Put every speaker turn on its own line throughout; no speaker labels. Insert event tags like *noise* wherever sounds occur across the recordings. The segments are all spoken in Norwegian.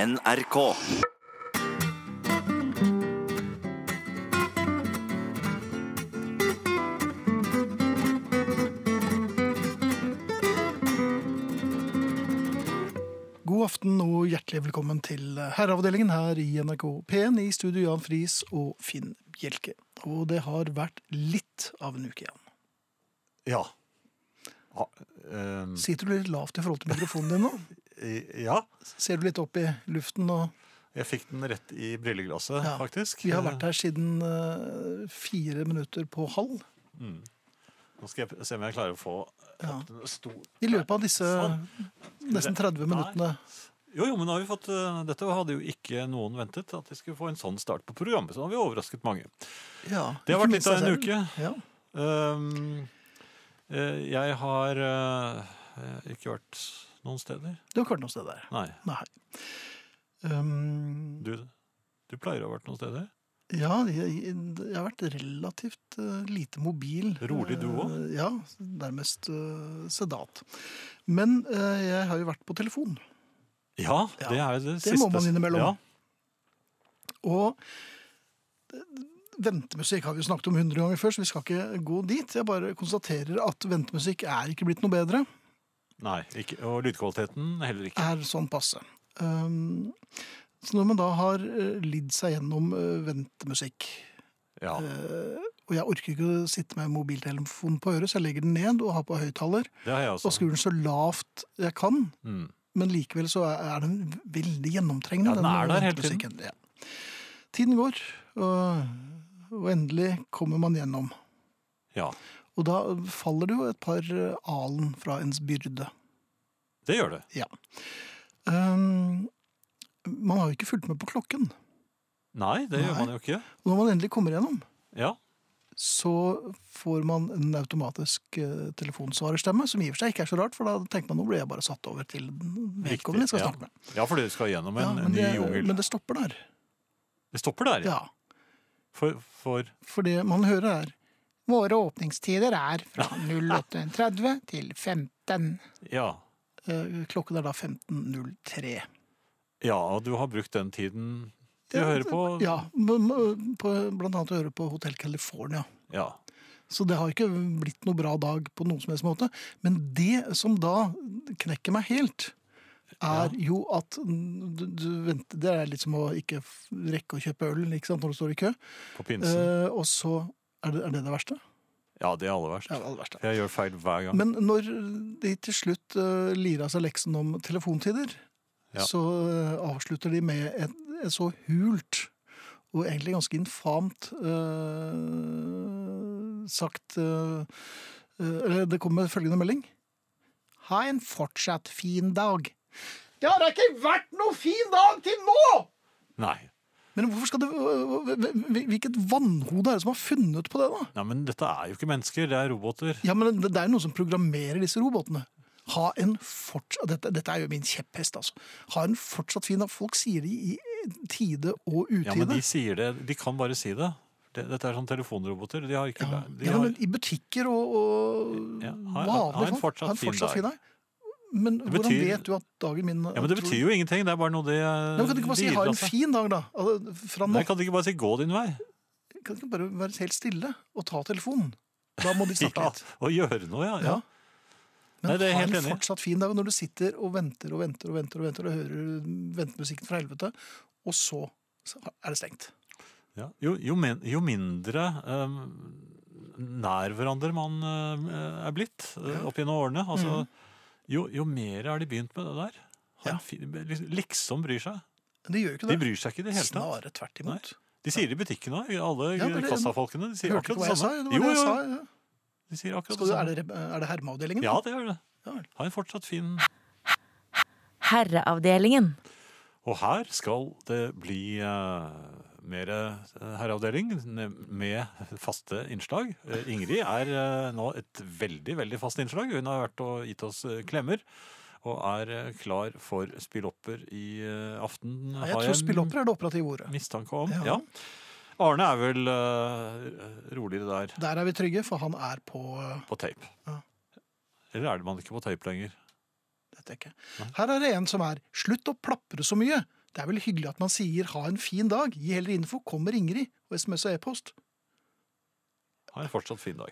NRK.
God aften og hjertelig velkommen til Herreavdelingen her i NRK P1 i studio Jan Friis og Finn Bjelke. Og det har vært litt av en uke igjen.
Ja. Ha, ehm,
Sitter du litt lavt i forhold til mikrofonen din nå?
i- ja.
Ser du litt opp i luften og
Jeg fikk den rett i brilleglasset,
Ja,
faktisk.
Vi har vært her siden eh, fire minutter på halv.
Mm. Nå skal jeg se om jeg klarer å få
Ja.
opp den stor...
I løpet av disse
Sånn.
nesten 30 minuttene.
Jo, jo, men nå har vi fått eh, Dette hadde jo ikke noen ventet, at de skulle få en sånn start på programmet. Så nå har vi overrasket mange.
Ja,
Det har
ikke
vært
minst
litt av
deg
en
selv.
uke.
Ja.
Ehm, eh, jeg har eh, eh, ikke vært noen steder.
Du har ikke vært noe sted der.
Nei.
Nei. Um,
Du, du pleier å ha vært noen steder?
Ja, jeg, jeg har vært relativt eh, lite mobil.
Rolig du òg?
Eh, ja, nærmest eh, sedat. Men eh, jeg har jo vært på telefon.
Ja,
Ja,
det er jo det,
det
siste.
må man innimellom.
Ja.
Og eh, ventemusikk har vi jo snakket om hundre ganger før, så vi skal ikke gå dit. Jeg bare konstaterer at ventemusikk er ikke blitt noe bedre.
Nei, ikke, og lydkvaliteten heller ikke.
er sånn passe. Um, så når man da har eh, lidd seg gjennom eh, ventemusikk
Ja.
eh, Og jeg orker ikke å sitte med mobiltelefonen på øret, så jeg legger den ned og har på høyttaler.
Det har jeg
Og
også.
skrur den så lavt jeg kan,
Mm.
men likevel så er er den veldig gjennomtrengende.
Ja, den er der hele
ventemusikken. Ja. Tiden går, og, og endelig kommer man gjennom.
Ja,
Og da faller det jo et par eh, alen fra ens byrde.
det gjør det.
Ja. Ehm, man har jo ikke fulgt med på klokken.
Nei, det gjør
Nei.
man jo ikke.
Og når man endelig kommer gjennom,
Ja,
så får man en automatisk eh, telefonsvarerstemme, som i og for seg ikke er så rart, for da tenker man nå blir jeg bare satt over til den vedkommende jeg skal
Riktig, ja.
snakke med.
ja for dere skal gjennom en
Ja, men,
ny
det,
jungel.
men det stopper der.
Det stopper der, ja.
Ja.
For, for
For det man hører er Våre åpningstider er fra 08.30 til 15.
ja.
Klokken er da 15.03.
ja, og du har brukt den tiden til å høre på.
Ja, men, eh, på, blant annet å høre på Hotell California.
Ja.
Så det har ikke blitt noe bra dag på noen som helst måte. Men det som da knekker meg helt, er jo at du, du venter Det er litt som å ikke f- rekke å kjøpe øl ikke sant, når du står i kø.
På pinsen.
Eh, og så er det, er det det verste?
Ja, det er aller verst.
Det er det aller verste.
For jeg gjør feil hver gang.
Men når de til slutt uh, lirer av seg leksen om telefontider,
Ja.
så eh, avslutter de med et, et så hult og egentlig ganske infamt eh, sagt eh, eh, Eller det kommer følgende melding. Ha en fortsatt fin dag. Det har da ikke vært noe fin dag til nå!
Nei.
Men hvorfor skal det, hvilket vannhode er det som har funnet på det, da?
Nei, men dette er jo ikke mennesker, det er roboter.
Ja, men det, det er noen som programmerer disse robotene. Ha en fortsatt, dette, dette er jo min kjepphest, altså. Ha en fortsatt fin dag. Folk sier det i tide og utide.
Ja, men de sier det. De kan bare si det. Det- Dette er sånn telefonroboter. De har ikke...
Ja.
De
Ja,
har,
men I butikker og, og
Ja, ha-
vanlige
ha en
folk.
fortsatt fin dag.
Men
Det
hvordan
betyr-
vet du at dagen min
ja, men det betyr jo ingenting. Det er bare noe de...
ja, men Kan du ikke bare si 'ha en fin dag', da? Altså, Fra nå
Nei, kan de ikke bare si 'gå din vei'?
kan du ikke bare være helt stille og ta telefonen? Da må de
*laughs*
snakke
Ja,
litt.
og gjøre noe, ja. ja.
Ja. Men
Nei, det er jeg
ha
helt
en
enig i.
fortsatt fin dag når du sitter og venter og venter og venter og venter og hører ventemusikken fra helvete, og så så er det stengt.
Ja. Jo, jo, min, jo mindre eh, nær hverandre man eh, er blitt eh, opp gjennom årene, altså, jo, jo mer har de begynt med det der.
Mm.
Har
Ja.
en fin- liksom- Liksom bryr seg.
Men det gjør jo ikke
De
det.
bryr seg ikke i det hele tatt.
Snarere tvert imot.
De sier det i butikken òg, alle
Ja, det er det-
kassafolkene. De sier
Hørte du
akkurat
hva
det
jeg sa?
samme.
Det var det jeg sa. ja.
de sier akkurat
Skal du,
det
er,
samme.
det, er det hermeavdelingen?
Ja, det gjør det.
Ja vel.
Ha en fortsatt fin
Herreavdelingen.
Og her skal det bli mer herreavdeling ne- med faste innslag. Eh, Ingrid er eh, nå et veldig, veldig fast innslag. Hun har vært og gitt oss eh, klemmer. Og er eh, klar for spillopper i eh, aften.
Nei, jeg tror spillopper er det operative ordet.
mistanke om.
Ja.
Ja. Arne er vel eh, roligere der
Der er vi trygge, for han er på eh,
på tape.
Ja.
Eller er det man ikke på tape lenger?
dette ikke. Her er det en som er 'slutt å plapre så mye'. Det er vel hyggelig at man sier 'ha en fin dag'. Gi heller info. Kommer Ingrid og SMS og e-post.
Ha en fortsatt fin dag.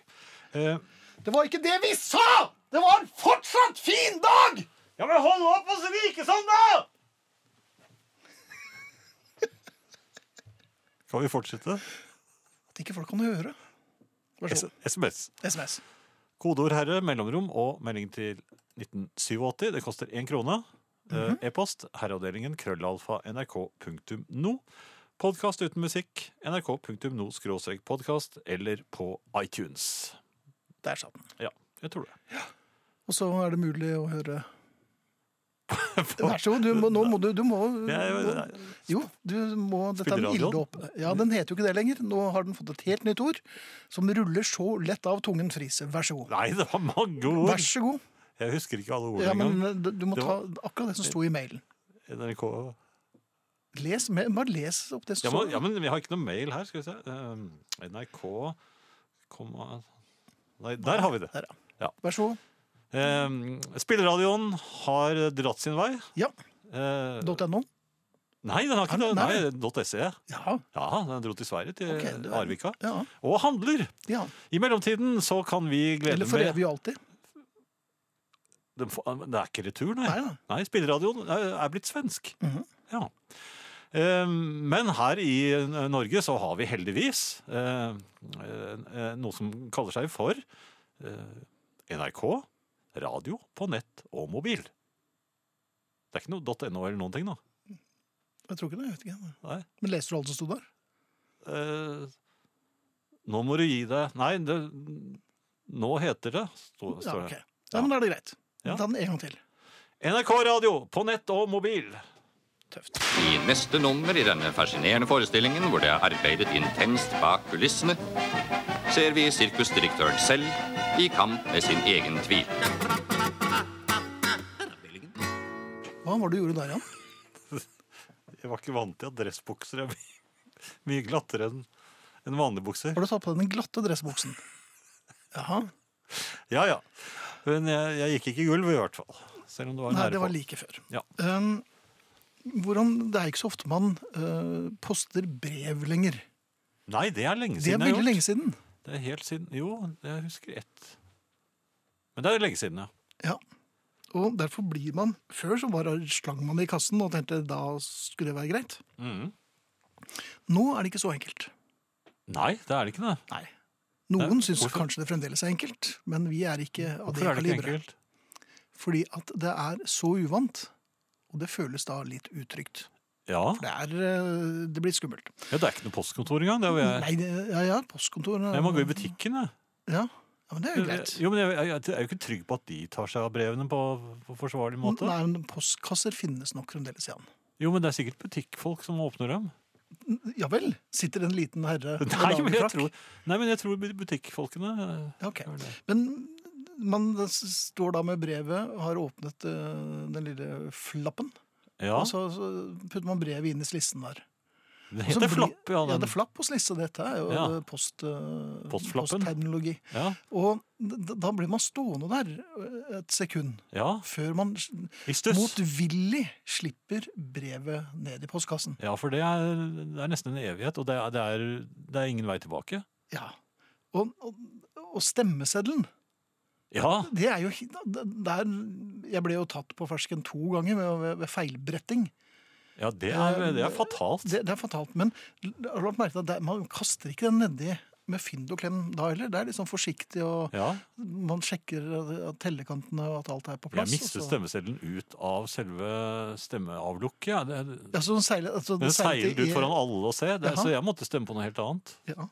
Eh,
Det var ikke det vi sa! Det var en fortsatt fin dag!
ja, men hold opp å svike sånn, da! Kan vi fortsette?
At ikke folk kan høre. Vær så god.
SMS.
SMS.
Kodeord herre, mellomrom og melding til 1987. Det koster én krone. Eh,
Mhm.
E-post herreavdelingen krøllalfa nrk.no. Podkast uten musikk nrk.no skråstrek podkast eller på iTunes.
Der satt den.
Ja, jeg tror det. *laughs*
Og så er det mulig å høre Vær så god, du må, nå må du, du må
Jeg-
Jo, du må dette er en
Spilleradioen?
ilde opp. Ja, den heter jo ikke det lenger. Nå har den fått et helt nytt ord som ruller så lett av tungen, Friise. Vær så god.
Nei, det var mange ord!
Vær så god.
Jeg husker ikke alle ordene
Ja, men
engang.
d- du må
Det
ta
var-
akkurat det som sto i mailen.
NRK
Les, me- bare les opp det
ja,
som
men, ja,
står.
men vi har ikke noe mail her, skal vi se. Eh, NRK komma Nei, der har vi det.
Der, ja.
Ja.
Vær så god.
Eh, Spilleradioen har dratt sin vei.
Ja.
Eh,
.no.
Nei, den har ikke
Er
det.
det- nei?
Nei, .se.
Ja.
Ja, den dro til Sverige, til
Ok, du er-
Eh, Arvika.
ja.
Og handler!
ja.
I mellomtiden så kan vi glede
Eller for
med
evig og alltid.
Den får- Det er ikke retur, nei.
Nei da.
Nei, Spilleradioen er er blitt svensk.
Mhm.
Ja. Eh, Men her i eh, Norge så har vi heldigvis eh, eh, eh, noe som kaller seg for eh, NRK, radio på nett og mobil. Det er ikke noe .no eller noen ting, da.
Jeg tror ikke det. jeg vet ikke.
Nei.
Men leser du alt som sto der?
Eh, Nå må du gi deg Nei, det, nå heter det sto,
Ja,
står det.
ok. ja, men da er det greit.
Ja.
Ta den en gang til.
NRK Radio på nett og mobil.
Tøft.
I neste nummer i denne fascinerende forestillingen, hvor det er arbeidet intenst bak kulissene, ser vi sirkusdirektøren selv i kamp med sin egen tvil.
Hva var det du gjorde der, Jan?
Jeg var ikke vant til at dressbukser er mye, *laughs* mye glattere enn enn vanlige bukser.
Har du tatt på deg den glatte dressbuksen? Jaha.
Ja, ja. Men jeg, jeg gikk ikke i gulv i hvert fall. Selv om det var
Nei,
nære
det var
på.
like før.
Ja.
Um, hvordan, det er ikke så ofte man uh, poster brev lenger.
Nei, det er lenge
Det er
siden jeg
veldig
har
lenge
gjort.
siden.
Det er helt siden. Jo, jeg husker ett. Men det er lenge siden, ja.
Ja. Og derfor blir man Før så bare slang man det i kassen og tenkte da skulle det være greit.
Mhm.
Nå er det ikke så enkelt.
Nei, det er det ikke det.
Nei. Noen
Nei,
syns
hvorfor?
kanskje det fremdeles er enkelt, men vi er ikke av det
Hvorfor er det ikke
kaliberet.
enkelt?
Fordi at det er så uvant, og det føles da litt utrygt.
Ja.
Det, er, uh, det blir skummelt.
ja, det er ikke noe postkontor engang. Det er hvor jeg,
Nei, det, ja, ja, postkontor
jeg må gå i butikken, jeg.
Ja. ja, men det er jo greit.
Jo, men jeg, jeg, jeg er jo ikke trygg på at de tar seg av brevene på, på forsvarlig måte.
Nei, men Postkasser finnes nok fremdeles, Jan.
Jo, men det er sikkert butikkfolk som åpner dem.
Ja vel? Sitter en liten herre med
Nei, men jeg
lagerfrakk?
tror, nei, men jeg tror butikkfolkene eh,
Ja, ok.
gjør det.
Men man står da med brevet, har åpnet eh, den lille flappen,
Ja,
og så, så putter man brevet inn i slissen der.
det
Og så
heter
blir-
flapp, ja.
Ja, det
Den.
er flapp og slisse. Dette er jo
Ja.
eh, post, eh,
Postflappen.
postterminologi.
Ja,
Og d- da blir man stående der eh, et sekund
ja.
før man
I stuss.
motvillig slipper brevet ned i postkassen.
Ja, for det er, det er nesten en evighet, og det er, det, er, det er ingen vei tilbake.
Ja. Og, og, og stemmeseddelen,
Ja,
det er jo hi- der, Jeg ble jo tatt på fersken to ganger ved, ved, ved feilbretting.
ja det, er, det er fatalt.
Det, det er fatalt. Men l- har du lagt merke til at det, man kaster ikke den nedi med fynd og klem da heller? Det er litt sånn forsiktig, og
Ja,
man sjekker at- at tellekantene og at alt er på
jeg
plass. altså.
mistet
og så-
stemmeseddelen ut av selve stemmeavlukket. Ja. Det,
Ja, så den seiler, altså,
den
seilte
seilte ut
i-
foran alle å se, det,
Jaha.
så jeg måtte stemme på noe helt annet. *laughs*
Ja.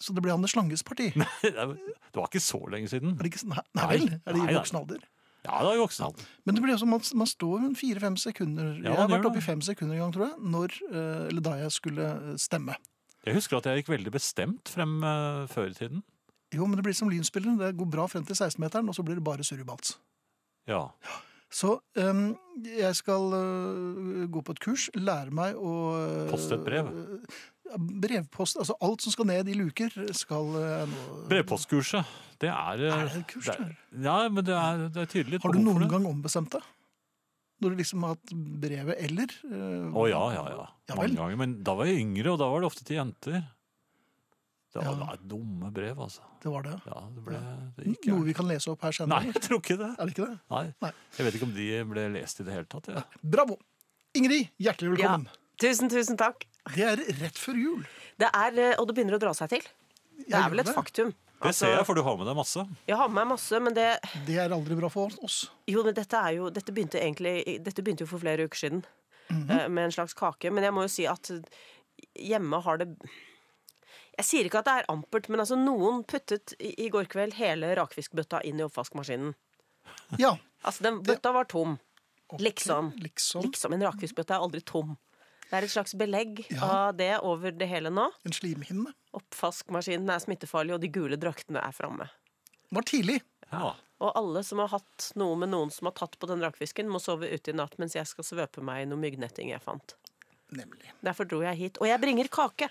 Så det ble Anders Langes parti? Er
Det er- det var ikke så lenge siden.
det ikke, sånn- nei, nei
Nei.
vel? Er det
Nei,
i
nei.
voksen alder?
Ja, det er jo voksen alder.
Men det blir også, man, man står en fire-fem sekunder
Ja,
Jeg har
man
vært
gjør
oppe i
det.
fem sekunder en gang, tror jeg, når, eh, eller da jeg skulle eh, stemme.
Jeg husker at jeg gikk veldig bestemt frem eh, før i tiden.
Jo, men det blir som lynspilleren. Det går bra frem til 16-meteren, og så blir det bare surribats.
Ja.
Så eh, jeg skal eh, gå på et kurs, lære meg å eh,
Poste et brev.
ja, Brevpost, altså alt som skal ned i luker, skal eh, nå
Brevpostkurset, det er eh,
Er det et kurs,
er- Ja, men det er, det er tydelig. et
Har du
behov for
noen
det.
gang ombestemt deg? Når du liksom har hatt brevet eller eh,
Å ja, ja, ja.
Ja vel.
Mange ganger. Men da var jeg yngre, og da var det ofte til jenter. Det var
Ja.
da dumme brev, altså.
Det var det.
Ja, det ble det gikk,
Noe
gærent.
vi kan lese opp her
Nei,
senere.
jeg tror ikke det.
Er det ikke det?
Nei.
Nei.
Jeg vet ikke om de ble lest i det hele tatt. Ja.
Bravo! Ingrid, hjertelig velkommen.
Tusen, tusen takk.
Det er rett før jul.
Det er, eh, og det begynner å dra seg til. Det
Jeg
er vel
gjør
et faktum.
Det
Altså,
ser jeg, for du har med deg masse.
Jeg har med meg masse, men det
Det er aldri bra for oss.
Jo, men dette, er jo, dette, begynte egentlig, dette begynte jo for flere uker siden
Mhm.
eh, med en slags kake. Men jeg må jo si at hjemme har det Jeg sier ikke at det er ampert, men altså noen puttet i, i går kveld hele rakfiskbøtta inn i oppvaskmaskinen.
Ja.
Altså, den
Det-
bøtta var tom.
Ok,
Liksom.
liksom.
Liksom En rakfiskbøtte er aldri tom. Det er et slags belegg
Ja.
av det over det hele nå.
En slimhinne.
Oppvaskmaskinen er smittefarlig, og de gule draktene er framme.
Var tidlig.
Ja.
Og alle som har hatt noe med noen som har tatt på den rakfisken, må sove ute i natt mens jeg skal svøpe meg i noe myggnetting jeg fant.
Nemlig.
Derfor dro jeg hit. Og jeg bringer kake!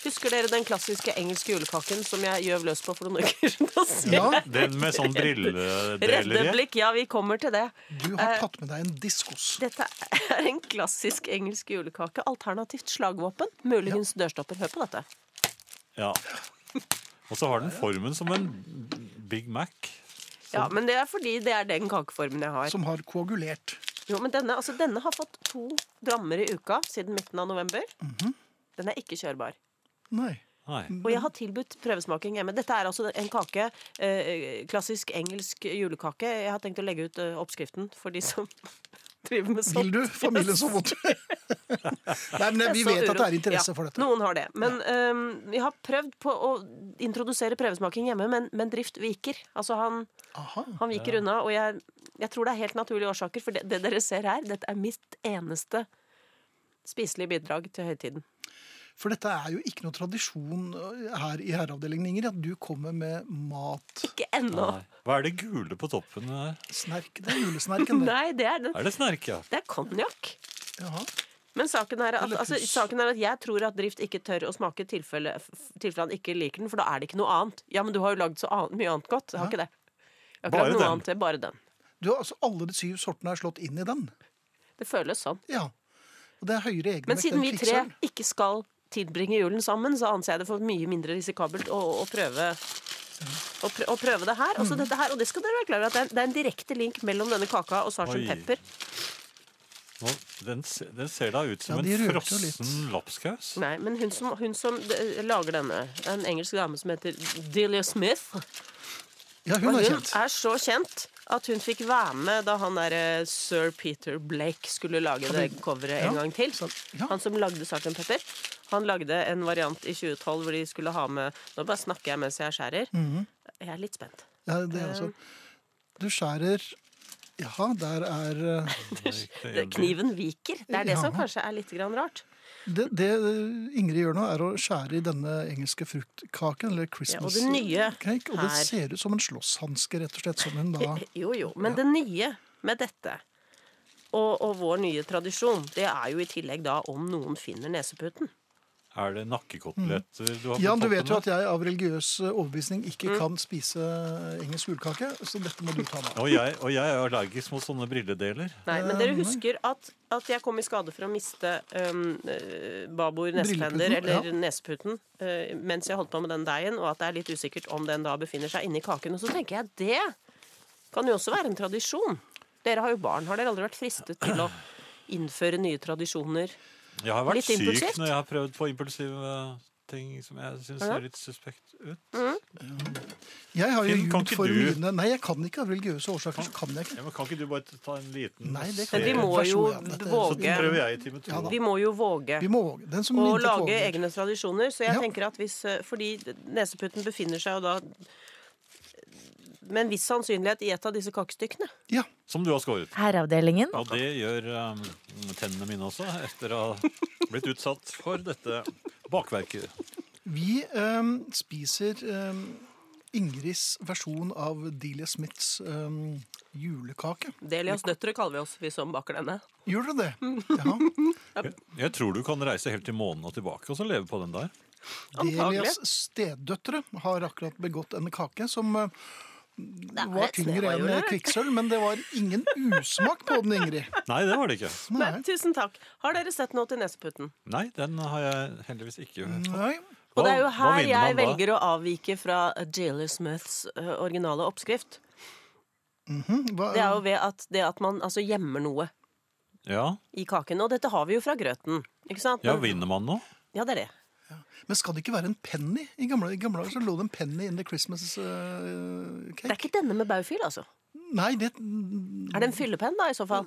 Husker dere den klassiske engelske julekaken som jeg gjøv løs på for noen uker siden? Da ser
Ja,
jeg
Den med sånn
Redde
brilledeler i.
blikk, ja, vi kommer til det.
Du har
Eh,
tatt med deg en diskos.
Dette er en klassisk engelsk julekake. Alternativt slagvåpen. Muligens dørstopper. Hør på dette.
Ja. Og så har den formen som en Big Mac.
Ja, Men det er fordi det er den kakeformen jeg har.
Som har koagulert.
Jo, men denne, altså, denne har fått to drammer i uka siden midten av november.
Mhm.
Den er ikke kjørbar.
Nei.
Nei.
Mm.
Og jeg har tilbudt prøvesmaking hjemme. Dette er altså en kake, eh, klassisk engelsk julekake. Jeg har tenkt å legge ut eh, oppskriften for de som *laughs* driver med sånt.
Vil du
*laughs*
familien så *laughs* vondt? Nei, men
Jeg
vi
så
vet at det
uro.
er interesse
Ja,
for dette.
Noen har det. Men eh, jeg har prøvd på å introdusere prøvesmaking hjemme, men, men drift viker. Altså han,
Aha.
han viker unna, og jeg, jeg tror det er helt naturlige årsaker, for det, det dere ser her, dette er mitt eneste spiselige bidrag til høytiden.
For dette er jo ikke noe tradisjon øh, her i herreavdelingen, Inger, at du kommer med matsnerk.
Ikke ennå.
Nei. Hva er det gule på toppen her?
Det er julesnerken, det.
*laughs* Nei, det er, den,
Er det snerk, ja?
det er konjakk.
Jaha.
Men saken er, at,
Eller
altså,
puss.
saken er at jeg tror at Drift ikke tør å smake i tilfelle, f- tilfelle han ikke liker den, for da er det ikke noe annet. Ja, men du har jo lagd så annet, mye annet godt. Jeg har ikke det. Jeg har ikke
Bare
lagd noe
den.
annet, det er bare den.
Du har altså alle de syv sortene er slått inn i den.
Det føles sånn.
Ja. Og det er høyere egenvekt
Men siden
enn
vi tre
kvikksølv.
ikke skal tilbringe julen sammen, så anser jeg det for mye mindre risikabelt å, å, prøve, å, prø- å prøve det her. Også dette her. Og det skal dere være klar over, at det er, det er en direkte link mellom denne kaka og
Oi.
sarsen pepper.
Nå, den, se- den ser da ut som
Ja, de
en
rørte jo
frossen lapskaus.
Nei, men hun som, hun som eh, lager denne, en engelsk dame som heter Delia Smith
Ja, hun
Og
er
hun
kjent.
er så kjent at hun fikk være med da han der eh, sir Peter Blake skulle lage det coveret
Ja.
en
Sånn.
gang til.
ja.
Han som lagde Sartan Pepper. Han lagde en variant i 2012 hvor de skulle ha med Nå bare snakker jeg mens jeg skjærer.
Mhm.
Jeg er litt spent.
Ja, det er altså. Du skjærer Jaha, der er eh,
Det, kniven viker. Det er det som
Ja.
kanskje er litt grann rart.
Det, det eh, Ingrid gjør nå, er å skjære i denne engelske fruktkaken, eller
Ja,
Christmas
og det nye
cake, og det
her.
ser ut som en slåsshanske, rett og slett, som
*laughs*
hun da
Jo, jo. Men det nye med dette, og, og vår nye tradisjon, det er jo i tillegg da om noen finner neseputen.
Er det nakkekoteletter du har på
Mm. Jan, du
toppen
vet jo
her?
at jeg av religiøs eh, overbevisning ikke
Mm.
kan spise engelsk julekake, så dette må du ta med.
og jeg, og jeg er allergisk mot sånne brilledeler.
Nei, men dere
Eh, nei.
husker at, at jeg kom i skade for å miste um, eh, babord
Brilleputen,
nesepender eller
ja.
neseputen eh, mens jeg holdt på med den deigen, og at det er litt usikkert om den da befinner seg inni kaken. Og så tenker jeg det kan jo også være en tradisjon. Dere har jo barn. Har dere aldri vært fristet til å innføre nye tradisjoner?
Jeg har vært
Litt
syk
impulsivt.
når jeg har prøvd på impulsive ting som jeg syns
Ja.
ser litt suspekt ut.
Jeg har jo
Finn, kan
jugd
ikke
for
du-
mine Nei, jeg kan ikke av religiøse årsaker, så kan jeg ikke.
Ja, men kan ikke du bare ta en liten
Nei, det kan
Men
jeg
serie?
vi
ikke.
må
Vær så
jo
god, Jan, dette-
Så
våge.
prøver jeg i time to.
Ja da.
Vi må jo våge.
Vi må Den som
Og
intet
lage
våger.
egne tradisjoner. Så jeg
Ja.
tenker at hvis eh, Fordi neseputen befinner seg jo da med en viss sannsynlighet i et av disse kakestykkene.
Ja.
Som du har skåret.
Herreavdelingen.
Og det gjør um, tennene mine også, etter å ha blitt utsatt for dette bakverket.
Vi ehm, spiser ehm, Ingrids versjon av Delia Smiths ehm, julekake.
Delias døtre kaller vi oss, vi som baker denne.
Gjør
*laughs*
dere det? Ja.
Jeg, jeg tror du kan reise helt til månen og tilbake og så leve på den der.
Antagelig.
Delias stedøtre har akkurat begått en kake som eh,
Det er
var
et snev
tyngre
av
enn
jordbær.
kvikksølv, men det var ingen usmak på den, Ingrid.
Nei, det var det ikke.
Nei.
Men, tusen takk. Har dere sett noe til neseputen?
Nei, den har jeg heldigvis ikke fått.
Nei.
Og det er jo
Hva- hva
her
vinner
jeg
man da?
velger å avvike fra Jailer Smiths eh, originale oppskrift.
Mhm, Hva,
Det er jo ved at, det at man altså gjemmer noe
Ja,
i kaken. Og dette har vi jo fra grøten. Ikke sant?
ja
Men-
vinner man nå?
ja det er det.
Men skal det ikke være en penny? I gamle, i gamle dager så lå det en penny in the Christmas eh,
Det er
cake.
ikke denne med baufil, altså.
Nei, det, *laughs*
Er det en fyllepenn, da, i så fall?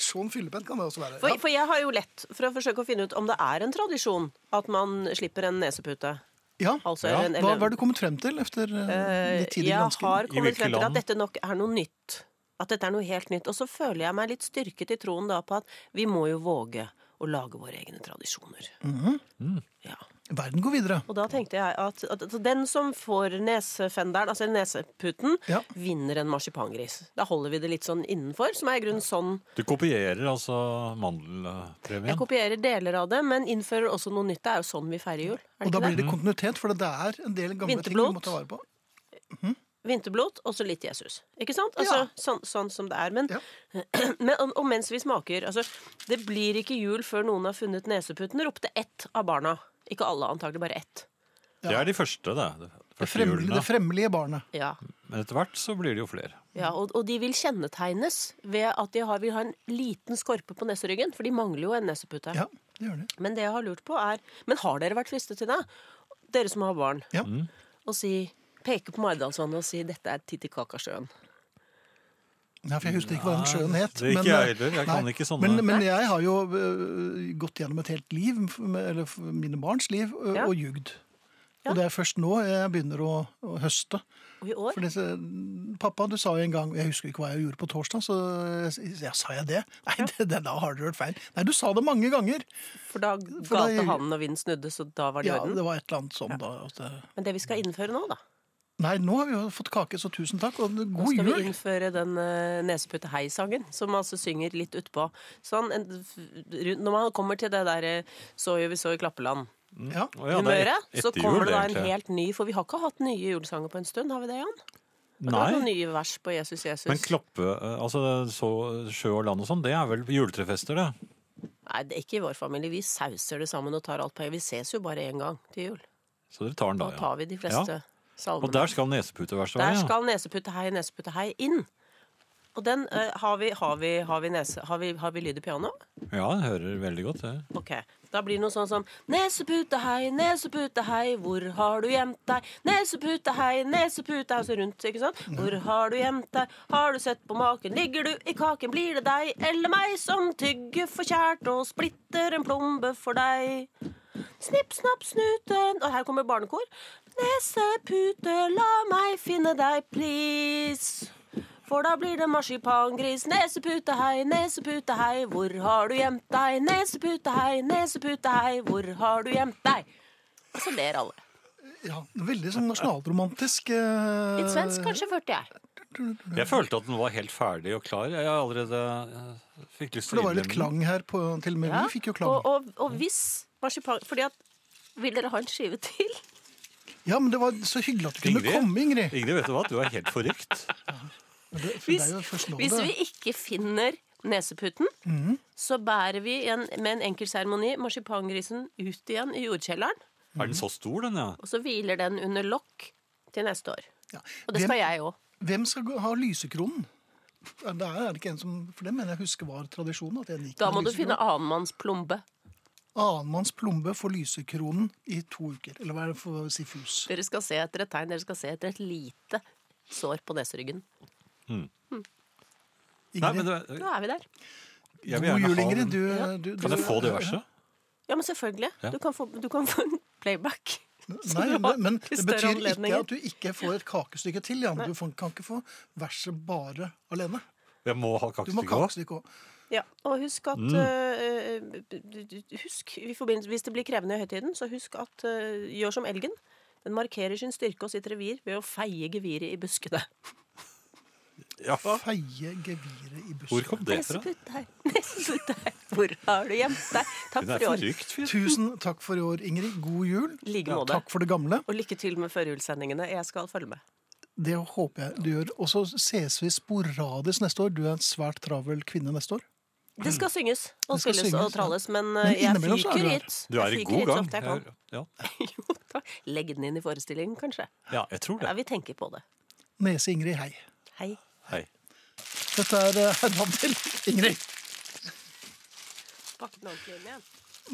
sånn fyllepenn kan det også være.
For,
Ja.
for jeg har jo lett for å forsøke å finne ut om det er en tradisjon at man slipper en nesepute.
Ja.
Altså,
Ja,
en,
Hva, hva er du kommet frem til etter eh,
Eh,
litt tidlig
Jeg
gransking?
har kommet
hvilke
frem til at
land?
dette nok er noe nytt. At dette er noe helt nytt. Og så føler jeg meg litt styrket i troen da på at vi må jo våge å lage våre egne tradisjoner.
Mhm.
Ja.
Verden går videre.
Og da tenkte jeg at, at, at den som får nesefenderen, altså neseputen,
Ja.
vinner en marsipangris. Da holder vi det litt sånn innenfor, som er i grunnen sånn.
Du kopierer altså
Jeg
mandelpremien?
kopierer deler av det, men innfører også noe nytt. Det er jo sånn vi feirer jul. Er
Og
det
da
ikke
blir
det?
det kontinuitet, for det er en del gamle ting
Vinterblot.
vi må ta vare på.
Vinterblot og så litt Jesus. Ikke sant? Altså,
Ja.
sånn, sånn som det er. Men,
Ja.
*clears throat* men, og, og mens vi smaker altså, Det blir ikke jul før noen har funnet neseputen, ropte ett av barna. Ikke alle, antagelig bare ett.
Det er de første, det. De
Det
første
fremmelige,
julene.
det fremmelige barnet.
Ja.
Men etter hvert så blir det jo flere.
Ja, og, og de vil kjennetegnes ved at de har, vil ha en liten skorpe på neseryggen, for de mangler jo en nesepute.
Ja, det gjør det.
Men det jeg har lurt på er Men har dere vært fristet til det? Dere som har barn.
Ja.
Mm.
Og si, peke på Maridalsvannet og si 'dette er Titicacasjøen'.
Nei, for Jeg husker ikke hva den sjøen het. eh,
det er ikke jeg heller. Jeg kan
nei.
ikke sånne-
men, men jeg har jo øh, gått gjennom et helt liv, med- eller f- mine barns liv, øh,
Ja.
og ljugd.
Ja.
Og det er først nå jeg begynner å, å høste.
Og i år
For disse, pappa, du sa jo en gang Jeg husker ikke hva jeg gjorde på torsdag, så jeg, jeg sa jeg det. *laughs* Nei, det, det, da har dere hørt feil. Nei, du sa det mange ganger.
For da
For da-
galte hanen og vinden snudde, så da var det i
Ja,
orden.
det var et eller annet sånn da. At det,
Men det vi skal innføre nå, da
nei, nå har vi jo fått kake, så tusen takk, og
Nå
god
skal vi
jul.
innføre den uh, neseputehei-sangen, som altså synger litt utpå. Sånn, en, rundt- når man kommer til det der eh, 'så jo vi så i Klappeland'.
Ja.
Å ja, det er
humøret,
et-
så
etter
kommer
jul,
det da en
egentlig.
helt ny For vi har ikke hatt nye julesanger på en stund, har vi det, Jan? Har det vært noen
Nei,
nye vers på Jesus, Jesus?
men klappe eh, Altså så, sjø og land og sånn, det er vel juletrefester, det.
Nei, det er ikke i vår familie. Vi sauser det sammen og tar alt på en Vi ses jo bare én gang til jul.
Så dere tar den da,
Da tar vi de fleste
Ja.
salmene.
Og der skal nesepute være så
Der
ja.
skal neseputtehei, neseputtehei inn. Og den eh, har, vi, har, vi, har, vi nese, har, vi, har vi lyd i piano?
Ja, jeg hører veldig godt det.
Ok, Da blir det noe sånn som Neseputehei, neseputehei, hvor har du gjemt deg? Neseputehei, neseputehei, og så altså rundt, ikke sant? Hvor har du gjemt deg? Har du sett på maken? Ligger du i kaken? Blir det deg eller meg som tygger forkjært og splitter en plombe for deg? Snipp, snapp, snuten Og her kommer barnekor. Nesepute, la meg finne deg, please. For da blir det marsipangris. Nesepute, hei, nesepute, hei, hvor har du gjemt deg? Nesepute, hei, nesepute, hei, hvor har du gjemt deg? Og så ler alle.
Ja, veldig sånn nasjonalromantisk. eh,
Litt svensk kanskje, følte jeg.
Jeg følte at den var helt ferdig og klar. Jeg allerede eh, fikk lyst
For
til
det
å
var litt klang
innlemme den.
her, på, til og med
Ja,
vi fikk jo klang.
Og, og, og hvis marsipang... Fordi at Vil dere ha en skive til?
Ja, men det var så hyggelig at du kunne
Ingrid?
komme, Ingrid.
Ingrid, vet du hva? Du er helt forrykt.
Men Det, for det
Hvis,
er jo først nå
hvis
det-
vi ikke finner neseputen, så bærer vi en, med en enkel seremoni marsipangrisen ut igjen i jordkjelleren.
Er den så stor, den, ja?
Og så hviler den under lokk til neste år.
ja.
Og det
hvem,
skal jeg òg.
hvem skal gå- ha lysekronen? Er det, er det ikke en som, for det mener jeg husker var tradisjonen. At en gikk
Da
med
må du
lysekronen.
finne annenmanns plombe.
Annenmanns plombe for lysekronen i to uker. Eller hva er det for å si fus?
Dere skal se etter et tegn. Dere skal se etter et lite sår på neseryggen.
Nei, men
Ingrid,
det,
Nå er vi der.
jeg vil
god
gjerne
jul,
ha
Ingrid.
den.
Du,
Ja.
du, du,
Kan jeg få det verset?
Ja, men selvfølgelig.
Ja.
Du, kan få, du kan få en playback.
Nei,
*laughs*
men, men det
Til større
betyr ikke
anledninger.
at du ikke får et kakestykke til, Jan. Du får- kan ikke få verset bare alene.
Jeg må ha
Du må ha
kakestykke òg.
kakestykke òg.
Ja, og husk at eh, eh, du- du- Husk, i forbindelse- Hvis det blir krevende i høytiden, så husk at eh, gjør som elgen. Den markerer sin styrke og sitt revir ved å feie geviret i buskene.
Ja.
Feie geviret i bussen.
Hvor kom det fra?
Neseputt her, neseputt her, hvor har du gjemt deg? Takk
Hun
for
er
i år.
forrykt, fyr.
Tusen takk for i år, Ingrid. God jul.
I like måte.
Takk for det gamle.
Og lykke til med førjulssendingene. Jeg skal følge med.
Det håper jeg du gjør. Og så ses vi sporadisk neste år. Du er en svært travel kvinne neste år.
Det skal synges og
Det skal
spilles
synges,
og tralles, men,
Men
eh, jeg
innimellom så er
fyker
du her.
hit.
Du er i
Jeg fyker
god
hit så
gang.
ofte jeg kan.
ja.
*laughs* Jo, da. Legg den inn i forestillingen, kanskje.
ja, jeg tror
Ja,
det.
vi tenker på det.
Nese Ingrid, hei.
Hei.
Hei.
Dette er eh, herrene til Ingrid.
Pakk den ordentlig inn igjen.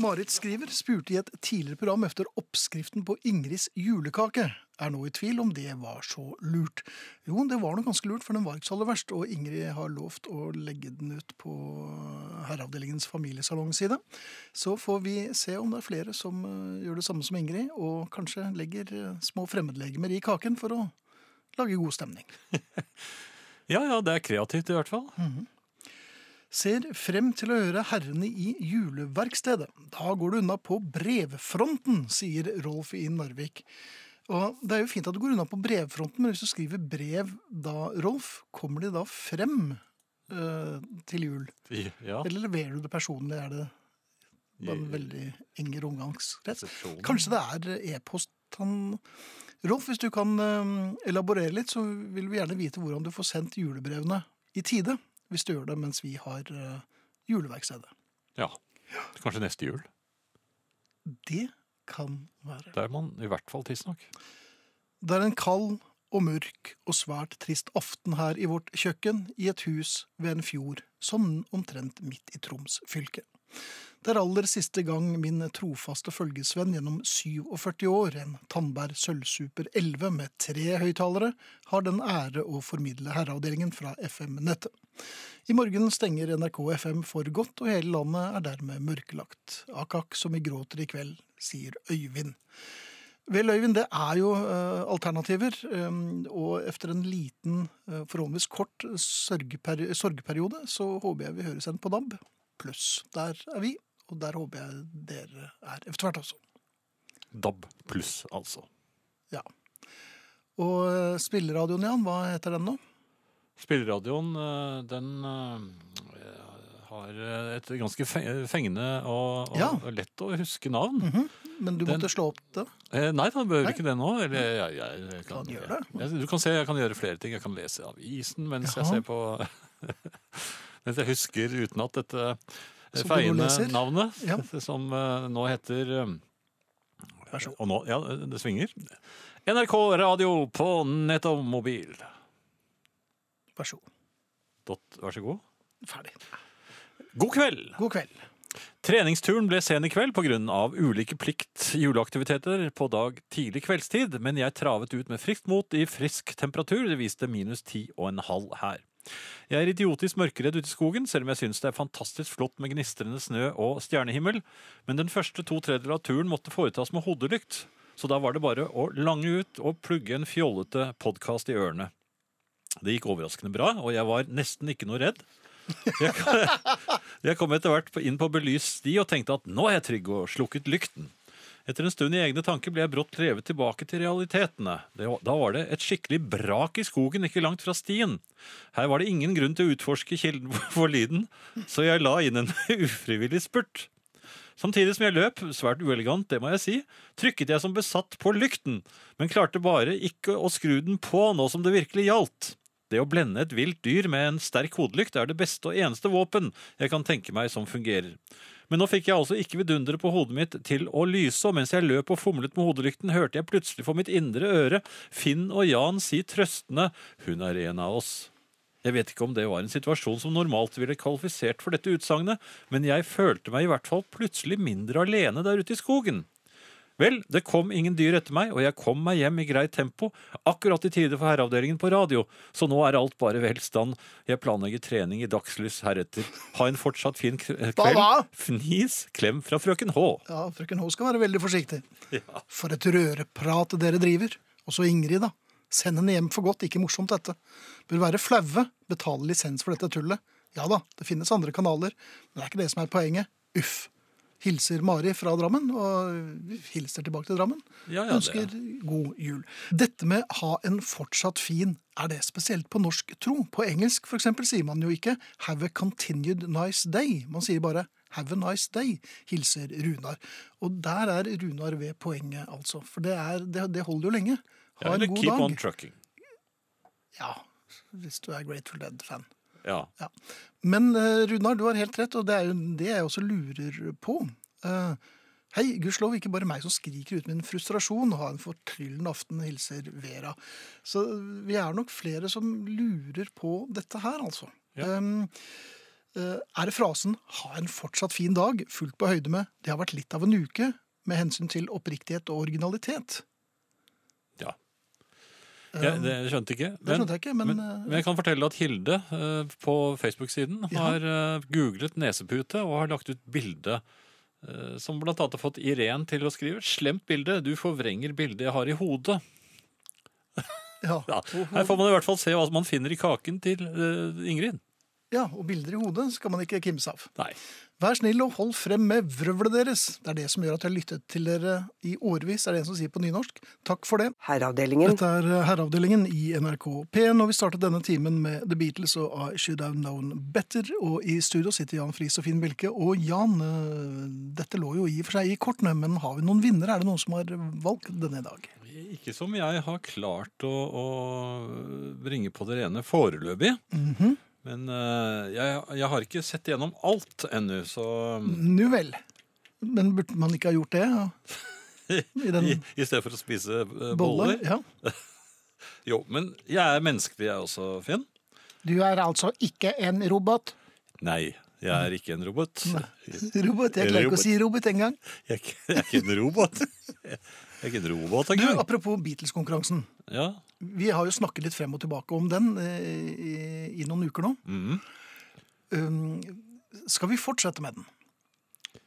Marit skriver spurte i et tidligere program efter oppskriften på Ingrids julekake. Er nå i tvil om det var så lurt. Jo, det var nok ganske lurt, for den var ikke så aller verst, og Ingrid har lovt å legge den ut på Herreavdelingens familiesalongside. Så får vi se om det er flere som eh, gjør det samme som Ingrid, og kanskje legger eh, små fremmedlegemer i kaken for å lage god stemning.
Ja, ja, det er kreativt i hvert fall.
Ser frem til å høre herrene i juleverkstedet. Da går du unna på brevfronten, sier Rolf i Narvik. Og Det er jo fint at du går unna på brevfronten, men hvis du skriver brev da, Rolf, kommer de da frem eh, til jul?
Ja,
Eller leverer du det personlig? Er det bare en
i
veldig enger omgangskrets?
resepsjonen.
Kanskje det er e-post han Rolf, hvis du kan eh, elaborere litt, så vil vi gjerne vite hvordan du får sendt julebrevene i tide. Hvis du gjør det mens vi har eh, juleverkstedet.
Ja. Kanskje neste jul.
Det kan være.
Da er man i hvert fall tidsnok.
Det er en kald og mørk og svært trist aften her i vårt kjøkken i et hus ved en fjord, som omtrent midt i Troms fylke. Det er aller siste gang min trofaste følgesvenn gjennom 47 år, en Tandberg Sølvsuper 11 med tre høyttalere, har den ære å formidle herreavdelingen fra FM-nettet. I morgen stenger NRK FM for godt, og hele landet er dermed mørkelagt. Akak som vi gråter i kveld, sier Øyvind. Vel, Øyvind, det er jo eh, alternativer. eh, og etter en liten, eh, forholdsvis kort sørgeperi sorgperiode, så håper jeg vi høres igjen på DAB. Pluss. Der er vi, og der håper jeg dere er etter hvert også.
DAB pluss, altså.
Ja. Og eh, spilleradioen, Jan, hva heter den nå?
Spilleradioen, eh, den eh, har et ganske fe- fengende og, og
Ja.
lett å huske navn.
Men du
Den-
måtte slå opp det.
Eh, Nei, da behøver
Nei.
vi ikke det nå. Eller, jeg, jeg, jeg
Kan
kan,
gjøre det.
Jeg, du kan se, jeg kan gjøre flere ting. Jeg kan lese avisen mens
Jaha.
jeg ser på *laughs* Mens jeg husker uten at dette eh,
Som du nå
feiende
leser.
navnet,
Ja.
*laughs* som eh, nå heter eh,
Vær så god.
Og nå, ja, det svinger. NRK Radio på nett og mobil.
Vær så god.
Dot, vær så god.
Ferdig.
God kveld!
God kveld.
Treningsturen ble sen i kveld pga. ulike plikt juleaktiviteter på dag tidlig kveldstid, men jeg travet ut med friskt mot i frisk temperatur. Det viste minus 10,5 her. Jeg er idiotisk mørkeredd ute i skogen, selv om jeg syns det er fantastisk flott med gnistrende snø og stjernehimmel, men den første to tredjedeler av turen måtte foretas med hodelykt, så da var det bare å lange ut og plugge en fjollete podkast i ørene. Det gikk overraskende bra, og jeg var nesten ikke noe redd. Jeg kom etter hvert på- inn på belyst sti og tenkte at nå er jeg trygg, og slukket lykten. Etter en stund i egne tanker ble jeg brått revet tilbake til realitetene. Det, var- da var det et skikkelig brak i skogen ikke langt fra stien. Her var det ingen grunn til å utforske kilden *laughs* for lyden, så jeg la inn en *laughs* ufrivillig spurt. Samtidig som jeg løp, svært uelegant, det må jeg si, trykket jeg som besatt på lykten, men klarte bare ikke å skru den på nå som det virkelig gjaldt. Det å blende et vilt dyr med en sterk hodelykt er det beste og eneste våpen jeg kan tenke meg som fungerer. Men nå fikk jeg altså ikke vidunderet på hodet mitt til å lyse, og mens jeg løp og fomlet med hodelykten, hørte jeg plutselig for mitt indre øre Finn og Jan si trøstende Hun er en av oss. Jeg vet ikke om det var en situasjon som normalt ville kvalifisert for dette utsagnet, men jeg følte meg i hvert fall plutselig mindre alene der ute i skogen. Vel, det kom ingen dyr etter meg, og jeg kom meg hjem i greit tempo, akkurat i tide for herreavdelingen på radio, så nå er alt bare velstand. Jeg planlegger trening i dagslys heretter. Ha en fortsatt fin k- eh,
Hva
kveld.
da?
Fnis, klem fra frøken H.
Ja, frøken H skal være veldig forsiktig. For et røreprat dere driver. Også Ingrid, da. Send henne hjem for godt, ikke morsomt dette. Bør være flaue, betale lisens for dette tullet. Ja da, det finnes andre kanaler, men det er ikke det som er poenget. Uff. Hilser Mari fra Drammen, og vi hilser tilbake til Drammen.
Ja, ja, det,
Ønsker god jul. Dette med ha en fortsatt fin, er det spesielt på norsk tro? På engelsk for eksempel sier man jo ikke have a continued nice day. Man sier bare have a nice day, hilser Runar. Og der er Runar ved poenget, altså. For det, er, det, det holder jo lenge.
ja,
Ha
eller
en god
keep
dag.
on trucking.
Ja, hvis du er Grateful Dead-fan.
Ja.
Ja. Men eh, Runar, du har helt rett, og det er jo det jeg også lurer på. Eh, hei, gudskjelov ikke bare meg som skriker ut min frustrasjon. Ha en fortryllende aften, hilser Vera. Så vi er nok flere som lurer på dette her, altså.
Ja.
Em, eh, er det frasen 'ha en fortsatt fin dag', fullt på høyde med 'det har vært litt av en uke', med hensyn til oppriktighet og originalitet?
ja. Jeg, det skjønte ikke.
Um, Det skjønte jeg ikke, men,
men,
eh,
men jeg kan fortelle at Hilde eh, på Facebook-siden
Ja.
har eh, googlet nesepute og har lagt ut bilde eh, som blant annet har fått Irene til å skrive. Slemt bilde, du forvrenger bildet jeg har i hodet.
ja.
Ja. Her får man i hvert fall se hva man finner i kaken til eh, Ingrid.
ja, og bilder i hodet skal man ikke kimse av.
Nei.
Vær snill og hold frem med vrøvlet deres. Det er det som gjør at jeg har lyttet til dere i årevis, det er det en som sier på nynorsk. Takk for det.
Herreavdelingen.
Dette er eh, Herreavdelingen i NRK P1, og vi startet denne timen med The Beatles og I Should Have Known Better. Og i studio sitter Jan Friis og Finn Bilke. Og Jan, øh, dette lå jo i og for seg i kortene, men har vi noen vinnere? Er det noen som har valgt denne i dag?
Ikke som jeg har klart å, å bringe på det rene foreløpig.
Mhm.
Men eh, jeg, jeg har ikke sett gjennom alt ennå, så um,
Nu vel. Men burde man ikke ha gjort det? I den
i, i stedet for å spise eh,
bolle?
boller.
Ja.
Jo, men jeg er menneskelig, jeg også, Finn.
Du er altså ikke en robot.
Nei, jeg er ikke en robot. Jeg,
Robot, Jeg klarer
Eller
ikke
robot.
å si robot engang.
er ikke- jeg er ikke en robot. *laughs* Jeg er ikke en robot
Du,
engang.
apropos Beatles-konkurransen.
Ja.
Vi har jo snakket litt frem og tilbake om den eh, i, i noen uker nå.
Mhm.
Um, skal vi fortsette med den?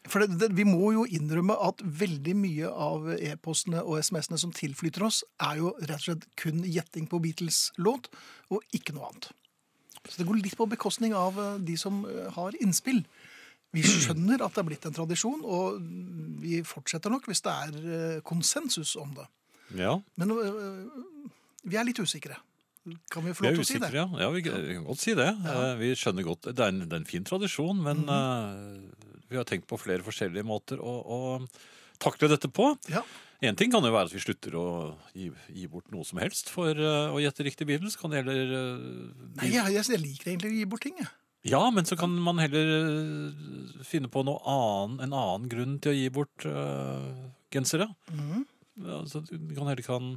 For det, det, vi må jo innrømme at veldig mye av e-postene og SMS-ene som tilflyter oss, er jo rett og slett kun gjetting på Beatles-låt, og ikke noe annet. Så det går litt på bekostning av eh, de som eh, har innspill. Vi skjønner at det er blitt en tradisjon, og vi fortsetter nok hvis det er eh, konsensus om det.
ja.
Men øh, vi er litt usikre. Kan vi få
Vi
lov
er
til å si det?
usikre, ja. ja vi, vi kan godt si det. Eh, Vi skjønner godt. Det er en, det er en fin tradisjon, men
Mhm.
eh, vi har tenkt på flere forskjellige måter å, å takle dette på.
Ja.
Én ting kan jo være at vi slutter å gi, gi bort noe som helst for eh, å gjette riktig Beatles. Kan det heller eh,
Nei, jeg, jeg, jeg liker egentlig å gi bort ting, jeg.
Ja, men så kan man heller øh, finne på noe annen, en annen grunn til å gi bort øh, gensere. Ja, så du kan heller kan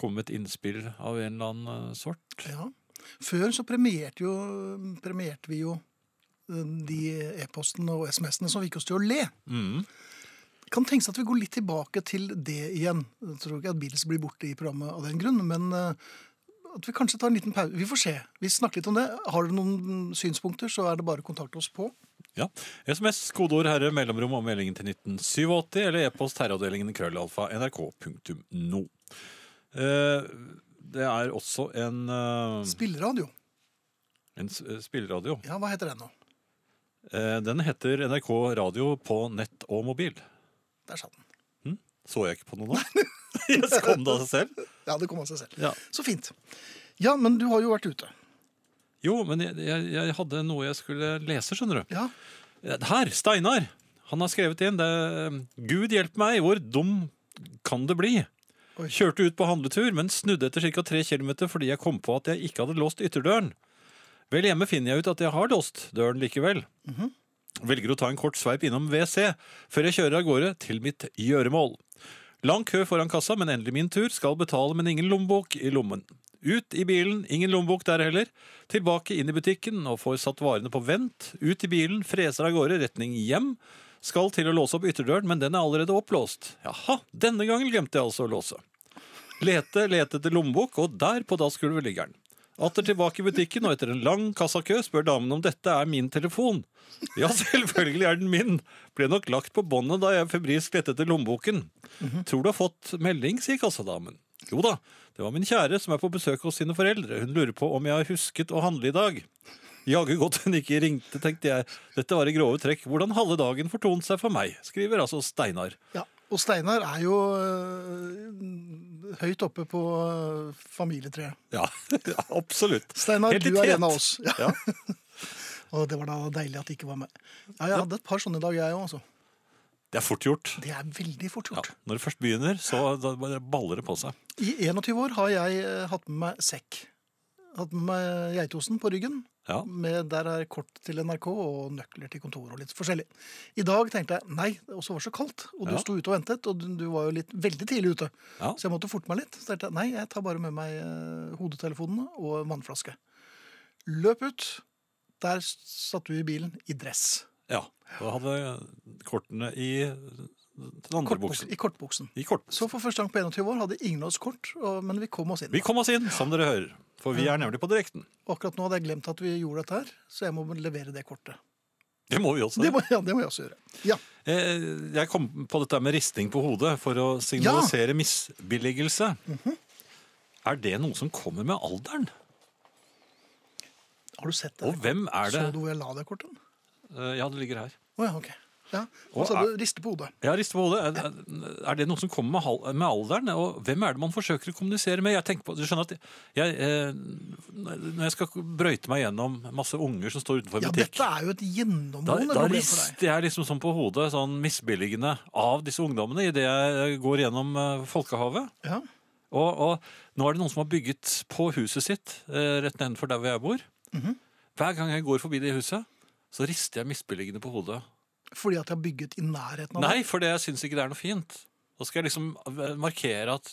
komme med et innspill av en eller annen øh, sort.
Ja. Før så premierte, jo, premierte vi jo øh, de e-postene og SMS-ene som fikk oss til å le.
Mhm.
Kan tenkes at vi går litt tilbake til det igjen. Jeg tror ikke at Beatles blir borte i programmet av den grunn, men øh, at vi kanskje tar en liten pause. Vi får se. Vi snakker litt om det. Har dere noen mm, synspunkter, så er det bare å kontakte oss på.
Ja. SMS, kodeord herre, mellomrom og meldingen til 1987, eller e-post herreavdelingen krøllalfa nrk.no. Eh, det er også en, øh,
Spilleradio.
en s- eh, spilleradio.
Ja, hva heter den nå?
Eh, den heter NRK Radio på nett og mobil.
Der satt den.
Så jeg ikke på noe nå? Jeg kom det av seg selv.
Ja, det kom av seg selv.
Ja.
Så fint. Ja, men du har jo vært ute.
Jo, men jeg, jeg, jeg hadde noe jeg skulle lese, skjønner du.
Ja,
Her, Steinar. Han har skrevet inn det um, Gud hjelpe meg, hvor dum kan det bli?
Oi.
Kjørte ut på handletur, men snudde etter ca. 3 km fordi jeg kom på at jeg ikke hadde låst ytterdøren. Vel hjemme finner jeg ut at jeg har låst døren likevel. Velger å ta en kort sveip innom WC før jeg kjører av gårde til mitt gjøremål. Lang kø foran kassa, men endelig min tur. Skal betale, men ingen lommebok i lommen. Ut i bilen, ingen lommebok der heller. Tilbake inn i butikken og får satt varene på vent. Ut i bilen, freser av gårde, retning hjem. Skal til å låse opp ytterdøren, men den er allerede opplåst. Jaha, denne gangen glemte jeg altså å låse. Lete, lete etter lommebok, og der på dassgulvet ligger den. Atter tilbake i butikken, og etter en lang kassakø spør damen om dette er min telefon. Ja, *laughs* selvfølgelig er den min. Ble nok lagt på båndet da jeg febrilsk lette etter lommeboken.
Mhm.
Tror du har fått melding, sier kassadamen. Jo da, det var min kjære som er på besøk hos sine foreldre. Hun lurer på om jeg har husket å handle i dag. Jaggu godt hun ikke ringte, tenkte jeg. Dette var i grove trekk hvordan halve dagen fortonet seg for meg, skriver altså Steinar.
ja. Og Steinar er jo øh, høyt oppe på øh, familietreet.
Ja, *laughs* absolutt.
Steinar,
Helt i
du er
tet.
en av oss. Ja.
Ja.
Og det var da deilig at de ikke var med. Ja, jeg hadde et par sånne i dag, jeg òg. Altså.
Det er fort gjort.
Det er veldig fort
Ja,
gjort.
når det først begynner, så da bare baller det på seg.
eh, I 21 år har jeg øh, hatt med meg sekk. Hatt med meg geitosten på ryggen.
Ja.
Med, der er kort til NRK og nøkler til kontoret og litt forskjellig. I dag tenkte jeg nei, det også var så kaldt, og du
Ja.
sto ute og ventet, og du, du var jo litt, veldig tidlig ute.
Ja.
Så jeg måtte forte meg litt. Så tenkte jeg nei, jeg tar bare med meg eh, hodetelefonene og en vannflaske. Løp ut. Der satt du i bilen i dress.
ja. Da hadde jeg kortene i den andre
Kortbuks-
buksen.
I kortbuksen.
I kort.
Så for første gang på 21 år hadde ingen av oss kort, og, men vi kom oss inn.
Vi kom oss inn, som dere hører. For vi er nemlig på direkten.
Og Akkurat nå hadde jeg glemt at vi gjorde dette her, så jeg må levere det kortet.
Det må vi også.
Det må, ja, det må jeg også gjøre. Ja,
Eh, Jeg kom på dette med risting på hodet for å signalisere misbilligelse. Er det noe som kommer med alderen?
Har du sett det?
Og hvem er
Så
det?
du hvor jeg la det kortet?
Eh, Ja, det ligger her.
Å ja, ok. Ja,
Og
Og så du
er-
riste på hodet.
Ja, riste på hodet. Er- Er er det noe som kommer med hal- med alderen? Og hvem er det man forsøker å kommunisere med? Jeg tenker på, du skjønner at jeg, eh, Når jeg skal brøyte meg gjennom masse unger som står utenfor
Ja,
butikk
dette er jo et
Da,
gjennomgående
da
problem for deg.
rister jeg liksom sånn på hodet, sånn misbilligende, av disse ungdommene idet jeg går gjennom eh, folkehavet.
Ja.
Og, og nå er det noen som har bygget på huset sitt, eh, rett nedenfor der hvor jeg bor.
Mhm.
Hver gang jeg går forbi det huset, så rister jeg misbilligende på hodet.
Fordi at jeg har bygget i nærheten av
Nei, for det jeg syns ikke det er noe fint. Da skal jeg liksom eh, markere at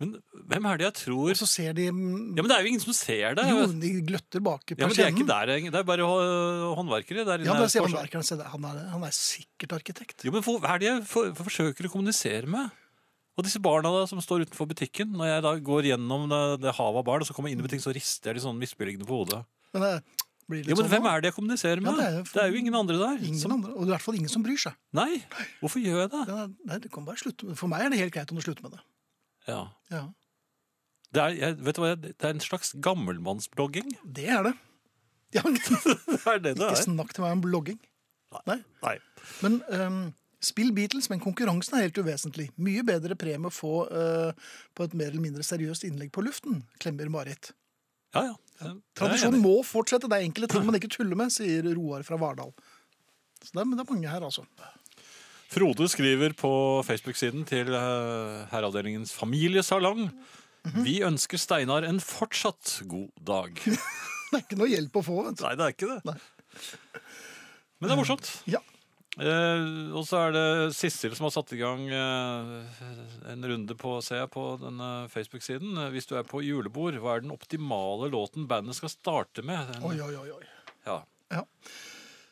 Men hvem er det jeg tror
det. Så ser de
Ja, men det er jo ingen som ser det.
Altså, Jo, de gløtter bak i
ja, men det er ikke
persiennen.
der, egentlig. det er bare hå- håndverkere der inne.
Ja, men da sier
Forstår-
håndverkeren se der, han, er- han er sikkert arkitekt.
Jo, men hvor- Hva er det jeg for, for forsøker å kommunisere med? Og disse barna da, som står utenfor butikken, når jeg da går gjennom det, det havet av barn, og så kommer jeg inn i butikken, så rister jeg de sånn misbilligende på hodet.
Men det blir litt
Jo, men
sånn
hvem
nå.
er det jeg kommuniserer med?
Ja,
det,
det er
er
jo-
jo ingen andre der.
Ingen
som,
andre, og i hvert fall ingen som bryr seg.
Nei, hvorfor gjør jeg det?
Ja, Nei, det kan bare slutte. med- For meg er det helt greit om du slutter med det.
Ja.
Ja,
Det er, jeg, vet du hva, jeg- det er en slags gammelmannsblogging.
Det er det. Ja, men, *laughs*
Det er det det
ikke
er.
snakk til meg om blogging. Nei.
Nei.
Men ehm, spill Beatles, men konkurransen er helt uvesentlig. Mye bedre premie å få eh, på et mer eller mindre seriøst innlegg på luften, klemmer Marit.
Ja, ja. Det er jeg
Tradisjonen
enig i.
må fortsette, det er enkelte ting man ikke tuller med, sier Roar fra Vardal. Så det er, men det er mange her, altså.
Frode skriver på Facebook-siden til eh, herreavdelingens familiesalong.
Mhm.
Vi ønsker Steinar en fortsatt god dag.
Det er ikke noe hjelp å få, vet du.
*laughs* Nei, det er ikke det.
Nei.
Men det er morsomt.
Ja.
Eh, og så er det Sissel som har satt i gang eh, en runde på, ser jeg, på denne Facebook-siden. Eh, Hvis du er på julebord, hva er den optimale låten bandet skal starte med? Den-
Oi, oi, oi. oi.
Ja.
Ja.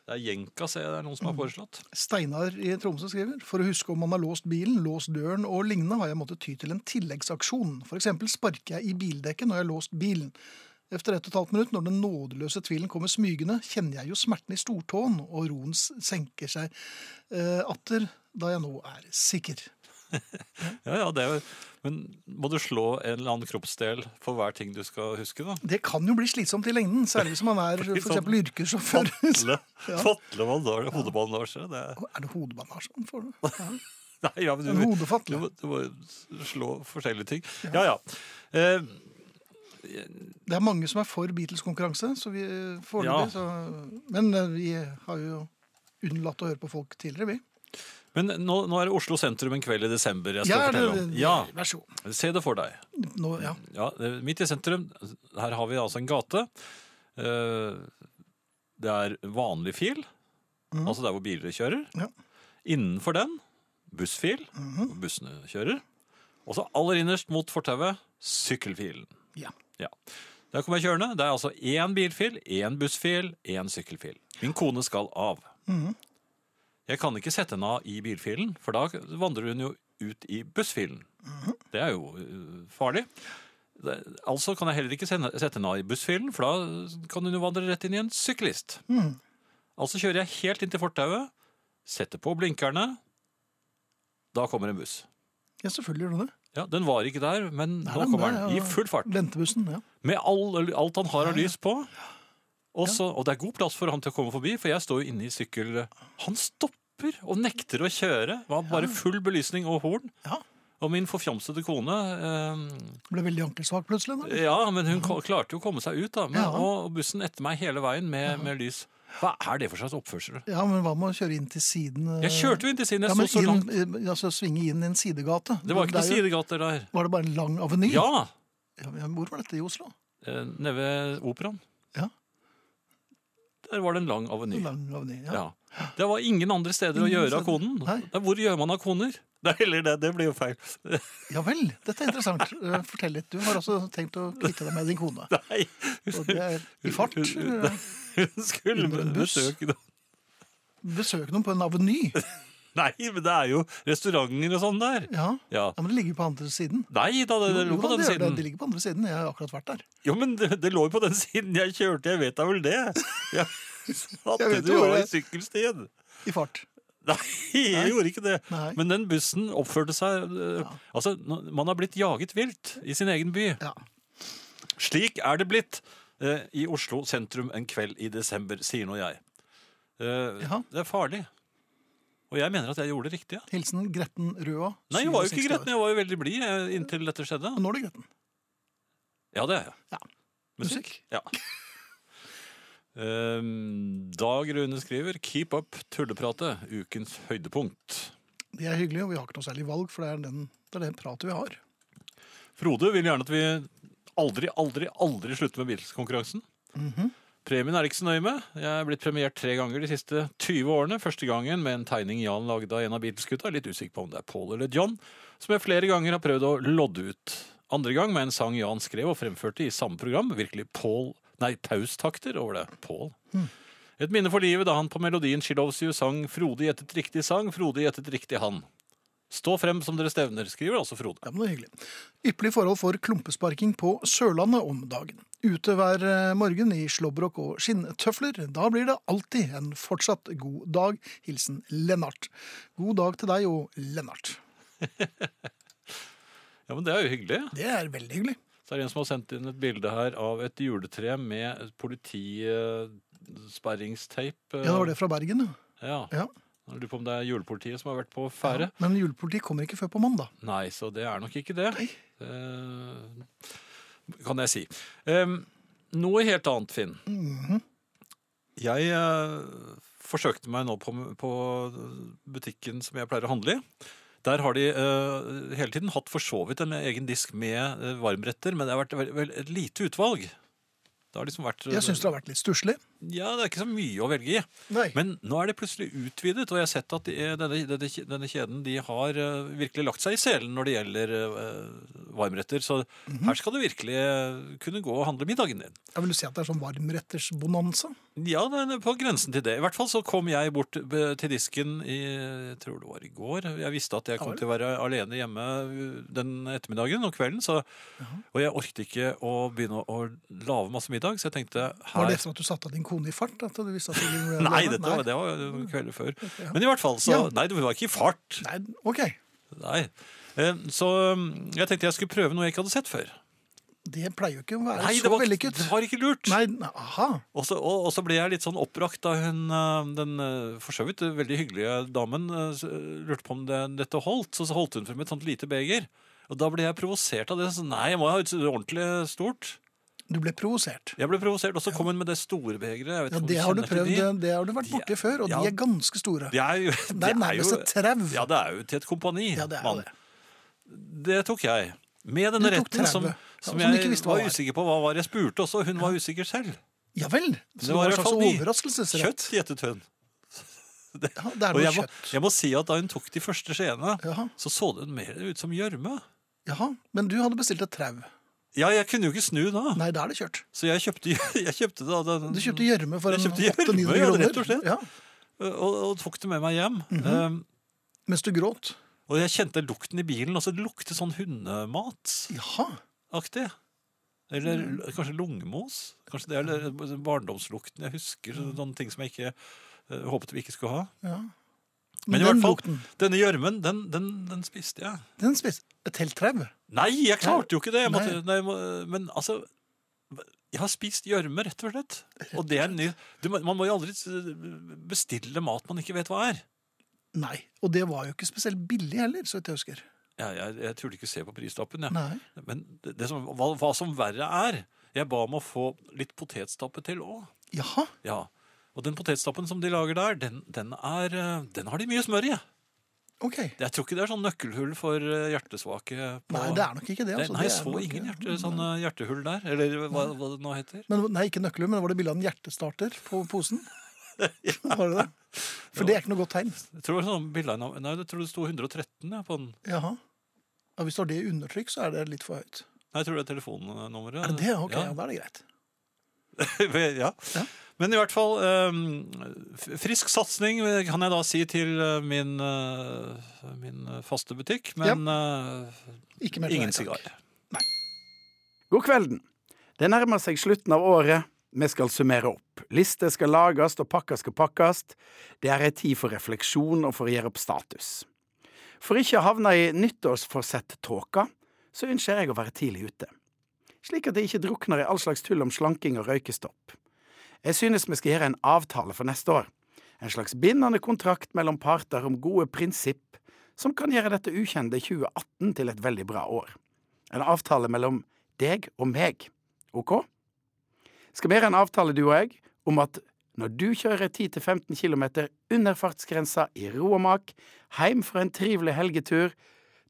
Det er Jenka, ser jeg, det er noen som
Mm.
har foreslått.
Steinar i Tromsø skriver For å huske om man har låst bilen, låst døren og lignende, har jeg måttet ty til en tilleggsaksjon. For eksempel sparker jeg i bildekket når jeg har låst bilen. Efter ett og et halvt minutt, når den nådeløse tvilen kommer smygende, kjenner jeg jo smerten i stortåen, og roen s- senker seg eh, atter, da jeg nå er sikker.
Ja, ja, det er, jo- men må du slå en eller annen kroppsdel for hver ting du skal huske, da?
Det kan jo bli slitsomt i lengden, særlig hvis man er
Blir
f.eks.
sånn
yrkessjåfør.
Fatle, *laughs*
Ja.
fatle bandasje, hodebandasje. Det er,
*laughs*
*laughs*
Er det hodebandasje man får? Ja.
nei, ja, men
En
du, Du
hodefatle.
må, du må slå forskjellige ting. Ja, ja. Eh,
Det er mange som er for Beatles-konkurranse, så vi eh,
Ja.
foreløpig så Men eh, vi har jo unnlatt å høre på folk tidligere, vi.
men nå, nå er det Oslo sentrum en kveld i desember jeg skal
Ja,
fortelle om.
det-
Ja,
Vær så god.
Se det for deg.
Nå, ja.
Ja, eh, midt i sentrum, her har vi altså en gate. Eh, Det er vanlig fil,
Mhm.
altså der hvor biler kjører.
Ja. Mhm.
Innenfor den, bussfil, hvor bussene kjører. Og så aller innerst mot fortauet, sykkelfilen.
Ja.
Ja. Der kommer jeg kjørende. Det er altså én bilfil, én bussfil, én sykkelfil. Min kone skal av.
Mhm.
Jeg kan ikke sette henne av i bilfilen, for da vandrer hun jo ut i bussfilen.
Mhm.
Det er jo øh, farlig. Det- Altså kan jeg heller ikke sende- sette henne av i bussfilen, for da kan hun jo vandre rett inn i en syklist.
Mhm.
Altså kjører jeg helt inn til fortauet, setter på blinkerne, da kommer en buss.
ja, selvfølgelig gjør du det.
Ja, Den var ikke der, men
Nei,
nå
men
kommer
det er
den i
jo-
full fart.
Ventebussen, ja.
Med all, alt han har av
Ja, ja.
lys på. Og, så, og det er god plass for han til å komme forbi, for jeg står jo inne i sykkel... Han stopper og nekter å kjøre. Det var bare full belysning og horn.
Ja.
Og min forfjamsede kone eh,
Ble veldig ankelsvak plutselig. Da.
Ja, men hun ko- klarte jo å komme seg ut, da. Men,
Ja.
Og bussen etter meg hele veien med, med lys. Hva er det for slags oppførsel?
Ja, men hva med å kjøre inn til siden? eh,
Jeg kjørte jo inn til siden.
ja,
Jeg
men
sto så langt.
inn, eh, altså svinge inn i en sidegate.
Det var ikke
er
noen
jo-
sidegater der.
Var det bare en lang aveny?
Ja!
Ja, men Hvor var dette i Oslo?
eh, nede ved operaen.
Ja.
Der var det en lang aveny.
Lang aveny, ja.
Ja. Det var ingen andre steder å
Ingen
gjøre
steder.
av konen.
Nei.
Ja, Hvor gjør man av koner? *laughs* Det, er heller det, det blir jo feil. *laughs*
ja vel, dette er interessant. Eh, Fortell litt. Du har også tenkt å kvitte deg med din kone.
Nei,
Og det er i fart. eller?
hun *laughs* skulle
Under en buss?
besøke noen.
Besøk noen på en aveny.
Nei, men det er jo restauranter og sånn der.
Ja.
Ja.
ja, men det ligger på andre siden.
Nei da, det, det
Jo
lå på
da,
den
det gjør Det, det
siden.
ligger på andre siden. Jeg har akkurat vært der.
Jo, men det, det lå jo på den siden jeg kjørte, jeg vet da vel det.
*laughs*
Jeg satte
vet
det
jo
jo
hvor
av i
det-
sykkelstien.
I fart.
Nei, jeg gjorde ikke det.
Nei.
Men den bussen oppførte seg eh, Altså, nå- man har blitt jaget vilt i sin egen by.
Ja.
Slik er det blitt eh, i Oslo sentrum en kveld i desember, sier nå jeg. Eh,
Jaha.
Det er farlig. Og jeg mener at jeg gjorde det riktige.
Hilsen Gretten Røa.
Nei, jeg var jo
67
ikke
år.
gretten. Jeg var jo veldig blid eh, inntil dette skjedde.
Men nå er det Gretten.
Ja, det er jeg.
Ja.
Musikk? Ja. *laughs* Ehm, Dag Rune skriver 'Keep up tullepratet', ukens høydepunkt.
Det er hyggelig, og vi har ikke noe særlig valg, for det er den, det, er den pratet vi har.
Frode vil gjerne at vi aldri, aldri, aldri slutter med Beatles-konkurransen. Premien er ikke så nøye med. Jeg er blitt premiert tre ganger de siste 20 årene. Første gangen med en tegning Jan lagde av en av Beatles-gutta. Litt usikker på om det er Paul eller John. Som jeg flere ganger har prøvd å lodde ut. Andre gang med en sang Jan skrev og fremførte i samme program. Virkelig Paul Nei, paustakter over det. Paul. Et minne for livet da han på melodien She Loves You sang Frode gjettet riktig sang, Frode gjettet riktig han. Stå frem som dere stevner, skriver altså Frode.
Ja, men det er hyggelig. Ypperlig forhold for klumpesparking på Sørlandet om dagen. Ute hver eh, morgen i slåbrok og skinntøfler. Da blir det alltid en fortsatt god dag. Hilsen Lennart. God dag til deg og Lennart.
Ja, men Det er jo hyggelig.
Det er veldig hyggelig.
Så er det en som har sendt inn et bilde her av et juletre med politisperringsteip.
Ja, det var det fra Bergen, ja.
Ja.
ja.
Jeg Lurer på om det er julepolitiet som har vært på ferde.
Men julepolitiet kommer ikke før på mandag.
Nei, så det er nok ikke det.
Nei.
Eh, kan jeg si. Em, noe helt annet, Finn.
Mhm.
Jeg eh, forsøkte meg nå på, på butikken som jeg pleier å handle i. Der har de eh, hele tiden hatt for så vidt en egen disk med eh, varmretter, men det har vært vel, vel, et lite utvalg. Det har liksom vært
Jeg syns det har vært litt stusslig.
Ja, det er ikke så mye å velge i.
Nei.
Men nå er det plutselig utvidet, og jeg har sett at de, eh, denne, denne, denne kjeden de har eh, virkelig lagt seg i selen når det gjelder eh, varmretter. Så
Mhm.
her skal du virkelig eh, kunne gå og handle middagen din.
Jeg vil si at det er sånn varmrettersbonanza.
Ja, det er på grensen til det. I hvert fall så kom jeg bort eh, til disken i jeg tror det var i går. Jeg visste at jeg kom
Ja vel.
til å være alene hjemme eh, den ettermiddagen og kvelden, så, og jeg orket ikke å begynne å, å lage masse middag, så jeg tenkte
Var det
her
etter at du satte av din kone i fart? At du visste at du ville være
Nei,
alene?
dette, var- det var jo kvelden før.
ja.
Men i hvert fall så
Ja.
Nei, det var ikke i fart.
Nei, ok.
Nei. Eh, Så um, jeg tenkte jeg skulle prøve noe jeg ikke hadde sett før.
Det pleier jo ikke å være
Nei,
så
det var, ikke-
vellykket.
det var ikke lurt.
Nei, ne- aha.
Og så, og, og så ble jeg litt sånn oppbrakt da hun, eh, den eh, for så vidt eh, veldig hyggelige damen, eh, s- lurte på om det, dette holdt. Så, så holdt hun frem et sånt lite beger. Og da ble jeg provosert av det. Så nei, jeg må ha et ordentlig stort.
Du ble provosert.
Jeg ble provosert, og så kom hun med det store begeret. Jeg
Ja,
vet ikke om
det har du
kjenner til
prøvd,
de.
det har du vært
De er-
borti før, og
ja.
de er ganske store.
Det er jo,
Det er nærmest et trau.
Ja, det er jo til et kompani.
Ja, det er
mann.
det.
Det tok jeg. Med denne
Du tok
retten som,
30, ja,
som
som du
jeg
ikke visste hva
var
var.
usikker på hva var. Jeg spurte også, hun var usikker selv.
Ja vel! Så det var en
var i hvert
slags
fall ny.
overraskelsesrett.
Kjøtt, gjettet hun. Det-
Ja, det er
og
noe
jeg må,
kjøtt.
jeg må si at da hun tok de første skjeene,
Jaha.
så så det mer ut som gjørme.
Jaha, men du hadde bestilt et trau.
Ja, jeg kunne jo ikke snu da.
Nei, da er det kjørt.
Så jeg kjøpte, *laughs* jeg kjøpte da den,
Du kjøpte gjørme for
Mm. Jeg
en
kjøpte gjørme,
800-900
ja,
kroner.
rett og slett.
Ja,
og, og tok det med meg hjem.
Mhm.
um,
mens du gråt.
og jeg kjente lukten i bilen, altså det lukte sånn hundemat.
Jaha.
aktig Eller
Mm.
l- kanskje lungemos. Kanskje det er det- barndomslukten jeg husker. så- Sånne ting som jeg ikke eh, håpet vi ikke skulle ha.
Mm. Ja.
Men i
den
hvert fall,
lukten,
denne gjørmen, den, den, den spiste jeg.
den spiste Et helt trau?
Nei, jeg klarte jo ikke det! Jeg
Nei.
måtte, nei, jeg må- men altså Jeg har spist gjørme, rett og slett. Og det er en ny du, må- Man må jo aldri s- bestille mat man ikke vet hva er.
Nei. Og det var jo ikke spesielt billig heller, så vidt jeg husker.
Ja, jeg, jeg turte ikke se på prislappen, jeg.
Nei.
Men det, det som, hva, hva som verre er, jeg ba om å få litt potetstappe til òg.
Jaha.
Ja, og den potetstappen som de lager der, den, den, er, eh, den har de mye smør i.
Ok.
Jeg tror ikke det er sånn nøkkelhull for eh, hjertesvake. På,
Nei, det er nok ikke det. Altså.
Nei,
Det
jeg
er
så
nok-
ingen hjerte, sånne hjertehull der, eller hva, hva det nå heter.
Men, nei, ikke nøkkelhull, men var det bilde av en hjertestarter på
*laughs*
posen? *laughs* Var det det? For det er ikke noe godt tegn.
Jeg tror, sånn, bildet av- nei, jeg tror det sto 113 ja, på den.
Jaha. Ja, hvis du har det i undertrykk, så er det litt for høyt.
Nei, jeg tror det er telefonnummeret.
Er det det? Ok, ja.
*laughs* Ja.
da er det greit.
ja.
Ja.
Men i hvert fall ehm, f- Frisk satsing eh, kan jeg da si til eh, min, eh, min eh, faste butikk, men
Ikke
eh,
mer til
ingen
nei, takk.
sigar.
God kvelden. Det nærmer seg slutten av året. Vi skal summere opp. Lister skal lages, og pakker skal pakkes. Det er ei tid for refleksjon og for å gjøre opp status. For ikke å havne i nyttårsforsett-tåka, så ønsker jeg å være tidlig ute. Slik at jeg ikke drukner i all slags tull om slanking og røykestopp. Jeg synes vi skal gjøre en avtale for neste år. En slags bindende kontrakt mellom parter om gode prinsipp som kan gjøre dette ukjente 2018 til et veldig bra år. En avtale mellom deg og meg. OK? Skal vi gjøre en avtale, du og jeg, om at når du kjører 10-15 km under fartsgrensa i ro og mak, heim fra en trivelig helgetur,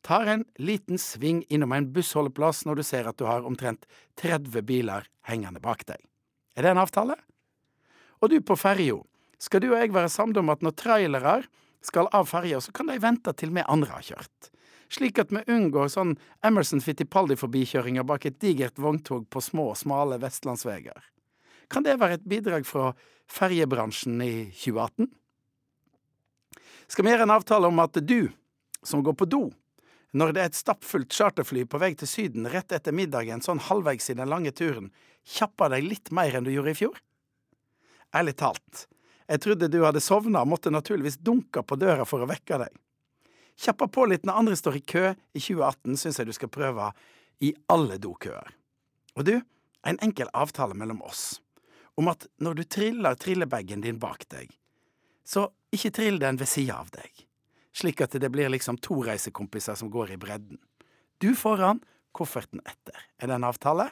tar en liten sving innom en bussholdeplass når du ser at du har omtrent 30 biler hengende bak deg. Er det en avtale? Og du på ferja, skal du og jeg være samde om at når trailere skal av ferja, så kan de vente til vi andre har kjørt. Slik at vi unngår sånn Emerson Fittipaldi-forbikjøringer bak et digert vogntog på små, smale vestlandsveier. Kan det være et bidrag fra ferjebransjen i 2018? Skal vi gjøre en avtale om at du, som går på do, når det er et stappfullt charterfly på vei til Syden rett etter middagen sånn halvveis i den lange turen, kjapper deg litt mer enn du gjorde i fjor? Ærlig talt, jeg trodde du hadde sovna og måtte naturligvis dunke på døra for å vekke deg. Kjappa på litt når andre står i kø i 2018, syns jeg du skal prøve i alle dokøer. Og du, en enkel avtale mellom oss, om at når du triller trillebagen din bak deg, så ikke trill den ved sida av deg, slik at det blir liksom to reisekompiser som går i bredden. Du foran, kofferten etter. Er det en avtale?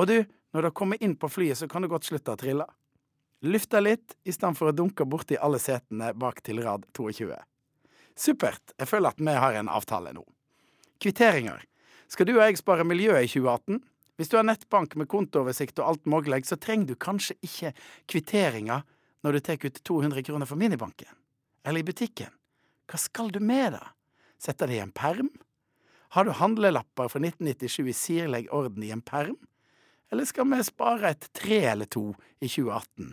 Og du, når du kommer inn på flyet, så kan du godt slutte å trille. Lufta litt, i stedet for å dunke borti alle setene bak til rad 22. Supert. Jeg føler at vi har en avtale nå. Kvitteringer. Skal du og jeg spare miljøet i 2018? Hvis du har nettbank med kontooversikt og alt mulig, så trenger du kanskje ikke kvitteringer når du tar ut 200 kroner fra minibanken. Eller i butikken. Hva skal du med, da? Sette det i en perm? Har du handlelapper fra 1997 i sirlig orden i en perm? Eller skal vi spare et tre eller to i 2018,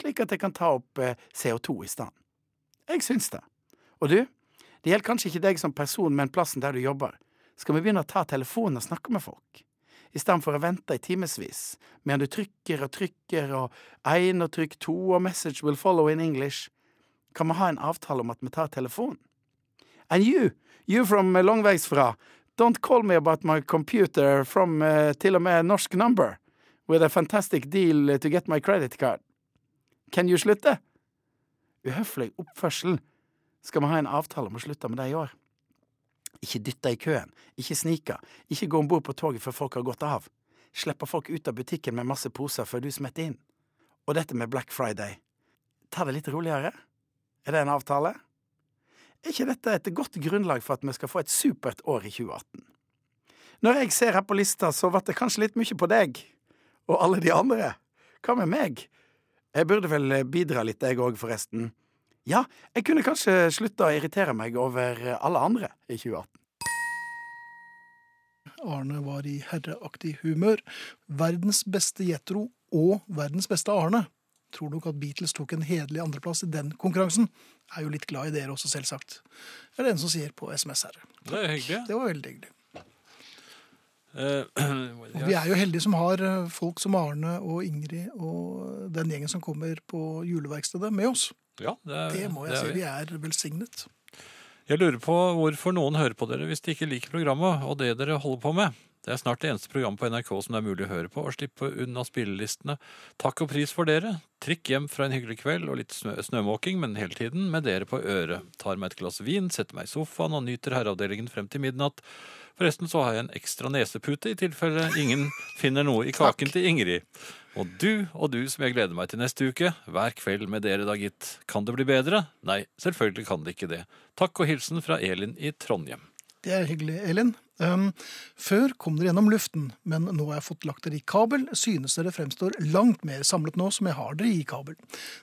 slik at jeg kan ta opp eh, CO2 i stedet? Jeg syns det. Og du, det gjelder kanskje ikke deg som person, men plassen der du jobber. Skal vi begynne å ta telefonen og snakke med folk? I stedet for å vente i timevis, medan du trykker og trykker og én og trykk to og message will follow in English, kan vi ha en avtale om at vi tar telefonen? And you, you from eh, longveis fra, don't call me about my computer from eh, til og med norsk number, with a fantastic deal to get my credit card. Can you slutte? Uhøflig oppførsel skal vi ha en avtale om å slutte med det i år. Ikke dytte i køen, ikke snike, ikke gå om bord på toget før folk har gått av. Slippe folk ut av butikken med masse poser før du smetter inn. Og dette med Black Friday, ta det litt roligere? Er det en avtale? Er ikke dette et godt grunnlag for at vi skal få et supert år i 2018? Når jeg ser her på lista, så ble det kanskje litt mye på deg. Og alle de andre. Hva med meg? Jeg burde vel bidra litt, jeg òg, forresten. Ja, jeg kunne kanskje slutte å irritere meg over alle andre i 2018.
Arne var i herreaktig humør. Verdens beste Jetro og verdens beste Arne. Tror nok at Beatles tok en hederlig andreplass i den konkurransen. Er jo litt glad i dere også, selvsagt. Det er det en som sier på SMS her.
Det er hyggelig.
Det var veldig hyggelig.
Eh, *clears throat*
Og Vi er jo heldige som har eh, folk som Arne og Ingrid og den gjengen som kommer på juleverkstedet med oss.
ja, det, er,
Det må jeg
det er
si.
vi.
Vi er velsignet.
Jeg lurer på hvorfor noen hører på dere hvis de ikke liker programmet og det dere holder på med. Det er snart det eneste programmet på NRK som det er mulig å høre på, og slippe unna spillelistene. Takk og pris for dere. Trikk hjem fra en hyggelig kveld og litt snø snømåking, men hele tiden med dere på øret. Tar meg et glass vin, setter meg i sofaen og nyter herreavdelingen frem til midnatt. Forresten så har jeg en ekstra nesepute i tilfelle ingen finner noe i kaken til Ingrid. Og du og du som jeg gleder meg til neste uke, hver kveld med dere da, gitt. Kan det bli bedre? Nei, selvfølgelig kan det ikke det. Takk og hilsen fra Elin i Trondheim.
Det er hyggelig, Elin. Um, før kom dere gjennom luften, men nå har jeg fått lagt dere i kabel. Synes dere fremstår langt mer samlet nå som jeg har dere i kabel.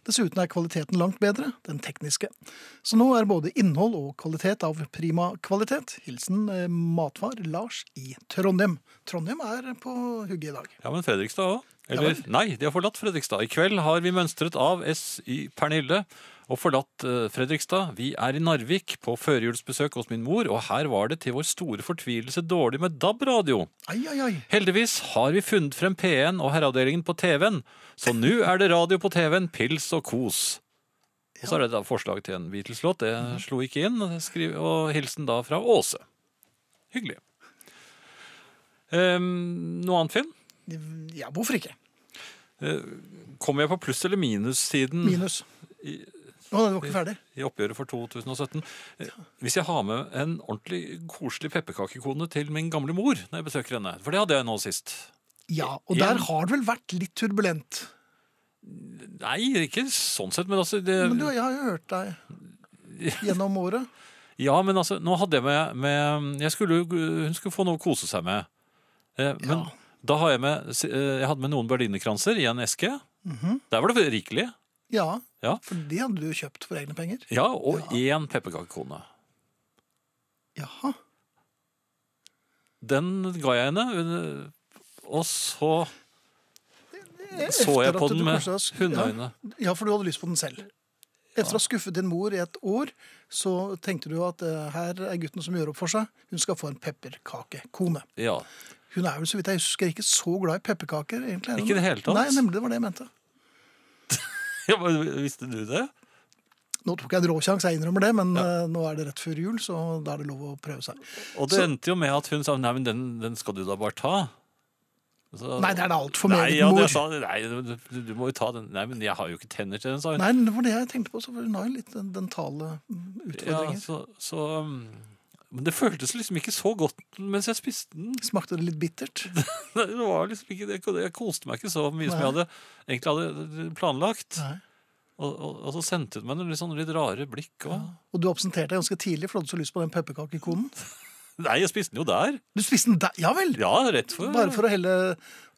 Dessuten er kvaliteten langt bedre, den tekniske. Så nå er både innhold og kvalitet av prima kvalitet. Hilsen eh, matfar Lars i Trondheim. Trondheim er på hugget i dag.
Ja, men Fredrikstad òg. Eller, nei, de har forlatt Fredrikstad. I kveld har vi mønstret av SY Pernille og forlatt eh, Fredrikstad. Vi er i Narvik på førjulsbesøk hos min mor, og her var det til vår store fortvilelse dårlig med DAB-radio.
Ai, ai, ai.
Heldigvis har vi funnet frem P1 og herreavdelingen på TV-en, så nå er det radio på TV-en, pils og kos. Og så er det da forslag til en Beatles-låt. Det slo ikke inn. Skriv, og hilsen da fra Åse. Hyggelig. Ehm, noe annet, Finn?
Ja, hvorfor ikke?
Kommer jeg på pluss- eller minussiden
Minus. Å, nei, det var ikke ferdig.
i oppgjøret for 2017? Eh, Hvis jeg har med en ordentlig koselig pepperkakekone til min gamle mor når jeg besøker henne, for det hadde jeg nå sist.
Ja, og
Ja.
der har det vel vært litt turbulent.
Nei, ikke sånn sett, men altså det,
Men du, jeg har jo hørt deg gjennom året.
Ja, men altså, nå hadde jeg med, med jeg skulle, jo- Hun skulle få noe å kose seg med. Eh, men
Ja.
da har jeg med eh, Jeg hadde med noen berlinerkranser i en eske.
Mhm.
Der var det rikelig.
Ja,
Ja.
for det hadde du jo kjøpt for egne penger.
Ja, og én pepperkakekone.
Jaha.
Den ga jeg henne. eh, Og så så jeg
Efter
på
at
den
du
med
kanskje har sk-
hundeøyne.
Ja, ja, for du hadde lyst på den selv. Etter å ha skuffet din mor i et år, så tenkte du at eh, her er gutten som gjør opp for seg. Hun skal få en pepperkakekone.
Ja. *laughs*
Hun er vel, så vidt jeg husker, ikke så glad i pepperkaker. egentlig. er hun
Ikke i det hele tatt.
Nei, nemlig, det var det jeg mente.
ja. men Visste du det?
Nå tok jeg en råsjanse, jeg innrømmer det, men eh, nå er det rett før jul, så da er det lov å prøve seg.
Og det
Så-
endte jo med at hun sa nei, men den, den skal du da bare ta. Så-
Nei, det er da altfor
Nei,
meget
ja,
mor.
det sa, nei du, du må jo ta den. Nei, men jeg har jo ikke tenner til den, sa hun.
Nei, det var det jeg tenkte på. Så hun har jo litt den- dentale mm,
Ja,
utfordringer.
så, så um, Men det føltes liksom ikke så godt mens jeg spiste den. *laughs*
Smakte det litt bittert?
Nei, Det var liksom ikke, jeg, jeg koste meg ikke så mye som jeg hadde, egentlig hadde planlagt.
Nei.
Og, og, og så sendte hun meg noen litt, sånne litt rare blikk. Og...
Og du absenterte deg ganske tidlig, for du hadde så lyst på den pepperkakekonen.
Nei, jeg spiste den jo der.
Du spiste den der, ja vel!
Ja, rett for
Bare for å helle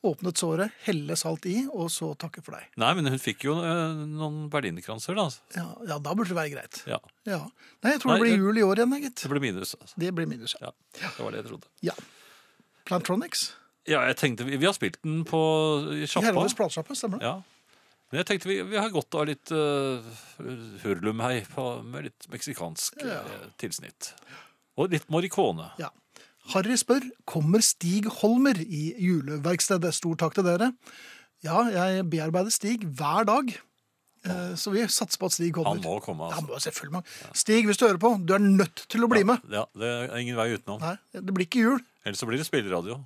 åpnet såret, helle salt i, og så takke for deg.
Nei, men hun fikk jo eh, noen berlinerkranser, da.
Ja, ja da burde det være greit.
Ja,
Ja. Nei, jeg tror
Nei,
det
det-
blir jul i år igjen, jeg, gitt.
Det ble minus. Altså.
Det blir minus, ja.
Ja, det var det jeg trodde.
ja. Plantronics.
Ja, jeg tenkte, Vi, vi har spilt den på i
I
sjappa.
Herreavdelens platesjappe, stemmer det?
Ja. Men jeg tenkte vi, vi har godt av litt eh, hurlumhei på, med litt meksikansk eh, tilsnitt. Og litt morikone.
Ja. Harry spør kommer Stig Holmer i juleverkstedet. Stor takk til dere. Ja, jeg bearbeider Stig hver dag, eh, så vi satser på at Stig kommer.
Han må komme,
Ja, han
altså.
må selvfølgelig. Stig, hvis du hører på, du er nødt til å bli med.
Ja, det er ingen vei utenom.
Nei, det blir ikke jul.
Ellers så blir det spilleradio.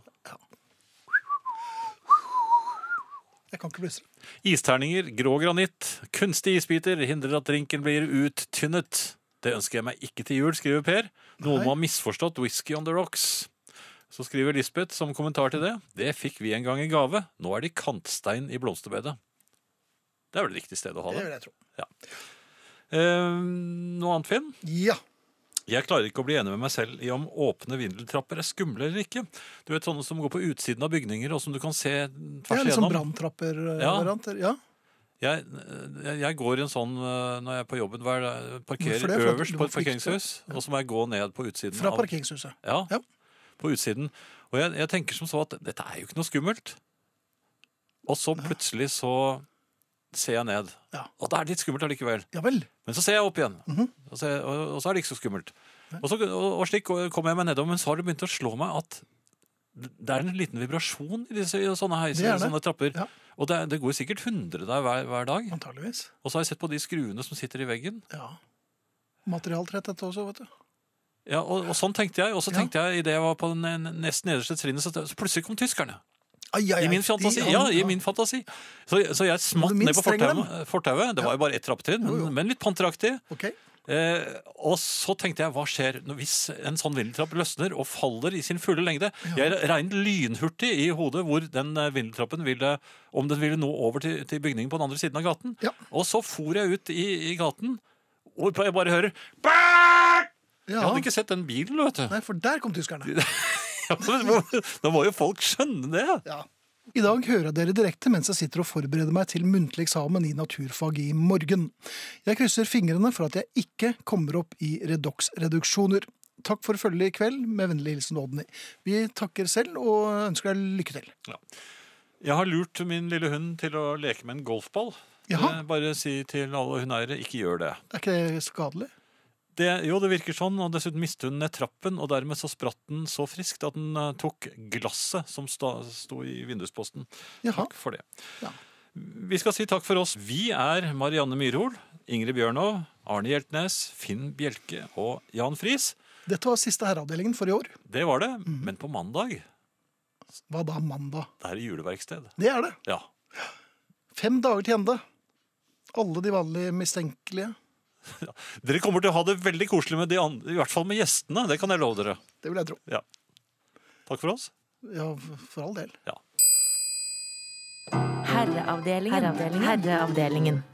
Jeg kan ikke plystre.
Isterninger, grå granitt, kunstig isbiter hindrer at drinken blir uttynnet. Det ønsker jeg meg ikke til jul, skriver Per. Noen
Nei.
må ha misforstått Whisky on the Rocks. Så skriver Lisbeth som kommentar til det. Det fikk vi en gang i gave. Nå er det kantstein i blomsterbedet. Det er vel riktig sted å ha
Det
det.
vil jeg tro.
Eh, noe annet, Finn?
Ja.
Jeg klarer ikke å bli enig med meg selv i om åpne vindeltrapper er skumle eller ikke. Du vet sånne som går på utsiden av bygninger, og som du kan se
Det
tvers
er litt sånn
igjennom. Ja.
branntrapper-varianter. Ja.
jeg, jeg- jeg går i en sånn eh, når jeg er på jobben, hver dag, parkerer
Hvorfor det? For at
øverst
du
på
må
et parkeringshus, og så må jeg gå ned på utsiden.
Fra
av-
parkeringshuset.
Ja,
Ja.
på utsiden. Og jeg, jeg tenker som så at dette er jo ikke noe skummelt. Og så plutselig så ser jeg ned.
Ja. Mhm.
Og det er litt skummelt allikevel.
Ja vel.
Men så ser jeg opp igjen, og, så, og, og så er det ikke så skummelt. Og, så, og, og slik kommer jeg meg nedover, men så har det begynt å slå meg at det er en liten vibrasjon i disse, i sånne
Det
heiser
er
og
det.
sånne trapper.
Ja.
Og det, er- det går sikkert 100 der hver, hver dag.
Antageligvis.
Og så har jeg sett på de skruene som sitter i veggen.
Ja. Materialtretthet også, vet du.
Ja, og, og sånn tenkte jeg. Og så
Ja.
tenkte jeg idet jeg var på den ne- nest nederste trinnet, så, så plutselig kom tyskerne.
Ai, ai, ai,
I min
de-
fantasi. Ja, i min fantasi. Så, så jeg smatt
minst
ned på
trenger dem.
fortauet. fortauet. Det var jo bare ett trappetrinn, men, men litt panteraktig.
Ok.
Eh, og så tenkte jeg, hva skjer når, hvis en sånn vindeltrapp løsner og faller i sin fulle lengde? Jeg regnet lynhurtig i hodet hvor den eh, vindeltrappen ville, om den ville nå over til, til bygningen på den andre siden av gaten.
Ja.
Og så for jeg ut i, i gaten, og jeg bare hører «Bææææ!» Jeg
Ja.
hadde ikke sett den bilen, vet du. *laughs*
Nei, for der kom tyskerne.
Da må jo folk skjønne det.
Ja. I dag hører jeg dere direkte mens jeg sitter og forbereder meg til muntlig eksamen i naturfag i morgen. Jeg krysser fingrene for at jeg ikke kommer opp i redox-reduksjoner. Takk for følget i kveld, med vennlig hilsen Odny. Vi takker selv og ønsker deg lykke til.
Jeg har lurt min lille hund til å leke med en golfball.
Jaha.
Eh, Bare si til alle hundeeiere, ikke gjør det.
Er ikke det skadelig?
det. Jo, det virker sånn, og dessuten mistet hun ned trappen, og dermed så spratt den så friskt at den eh, tok glasset som sta, sto i vindusposten.
Jaha.
Takk for det.
Ja.
Vi skal si takk for oss. Vi er Marianne Myrhol, Ingrid Bjørnov, Arne Hjeltnes, Finn Bjelke og Jan Friis.
Dette var siste herreavdelingen for i år.
Det var det,
Mm.
men på mandag,
Hva da, mandag?
det er juleverksted.
Det er det.
Ja,
Fem dager til ende. Alle de vanlige mistenkelige.
Dere kommer til å ha det veldig koselig med de andre, i hvert fall med gjestene. Det kan jeg love dere.
Det vil jeg tro.
Ja. Takk for oss.
Ja, for all del.
Herreavdelingen. Herreavdelingen.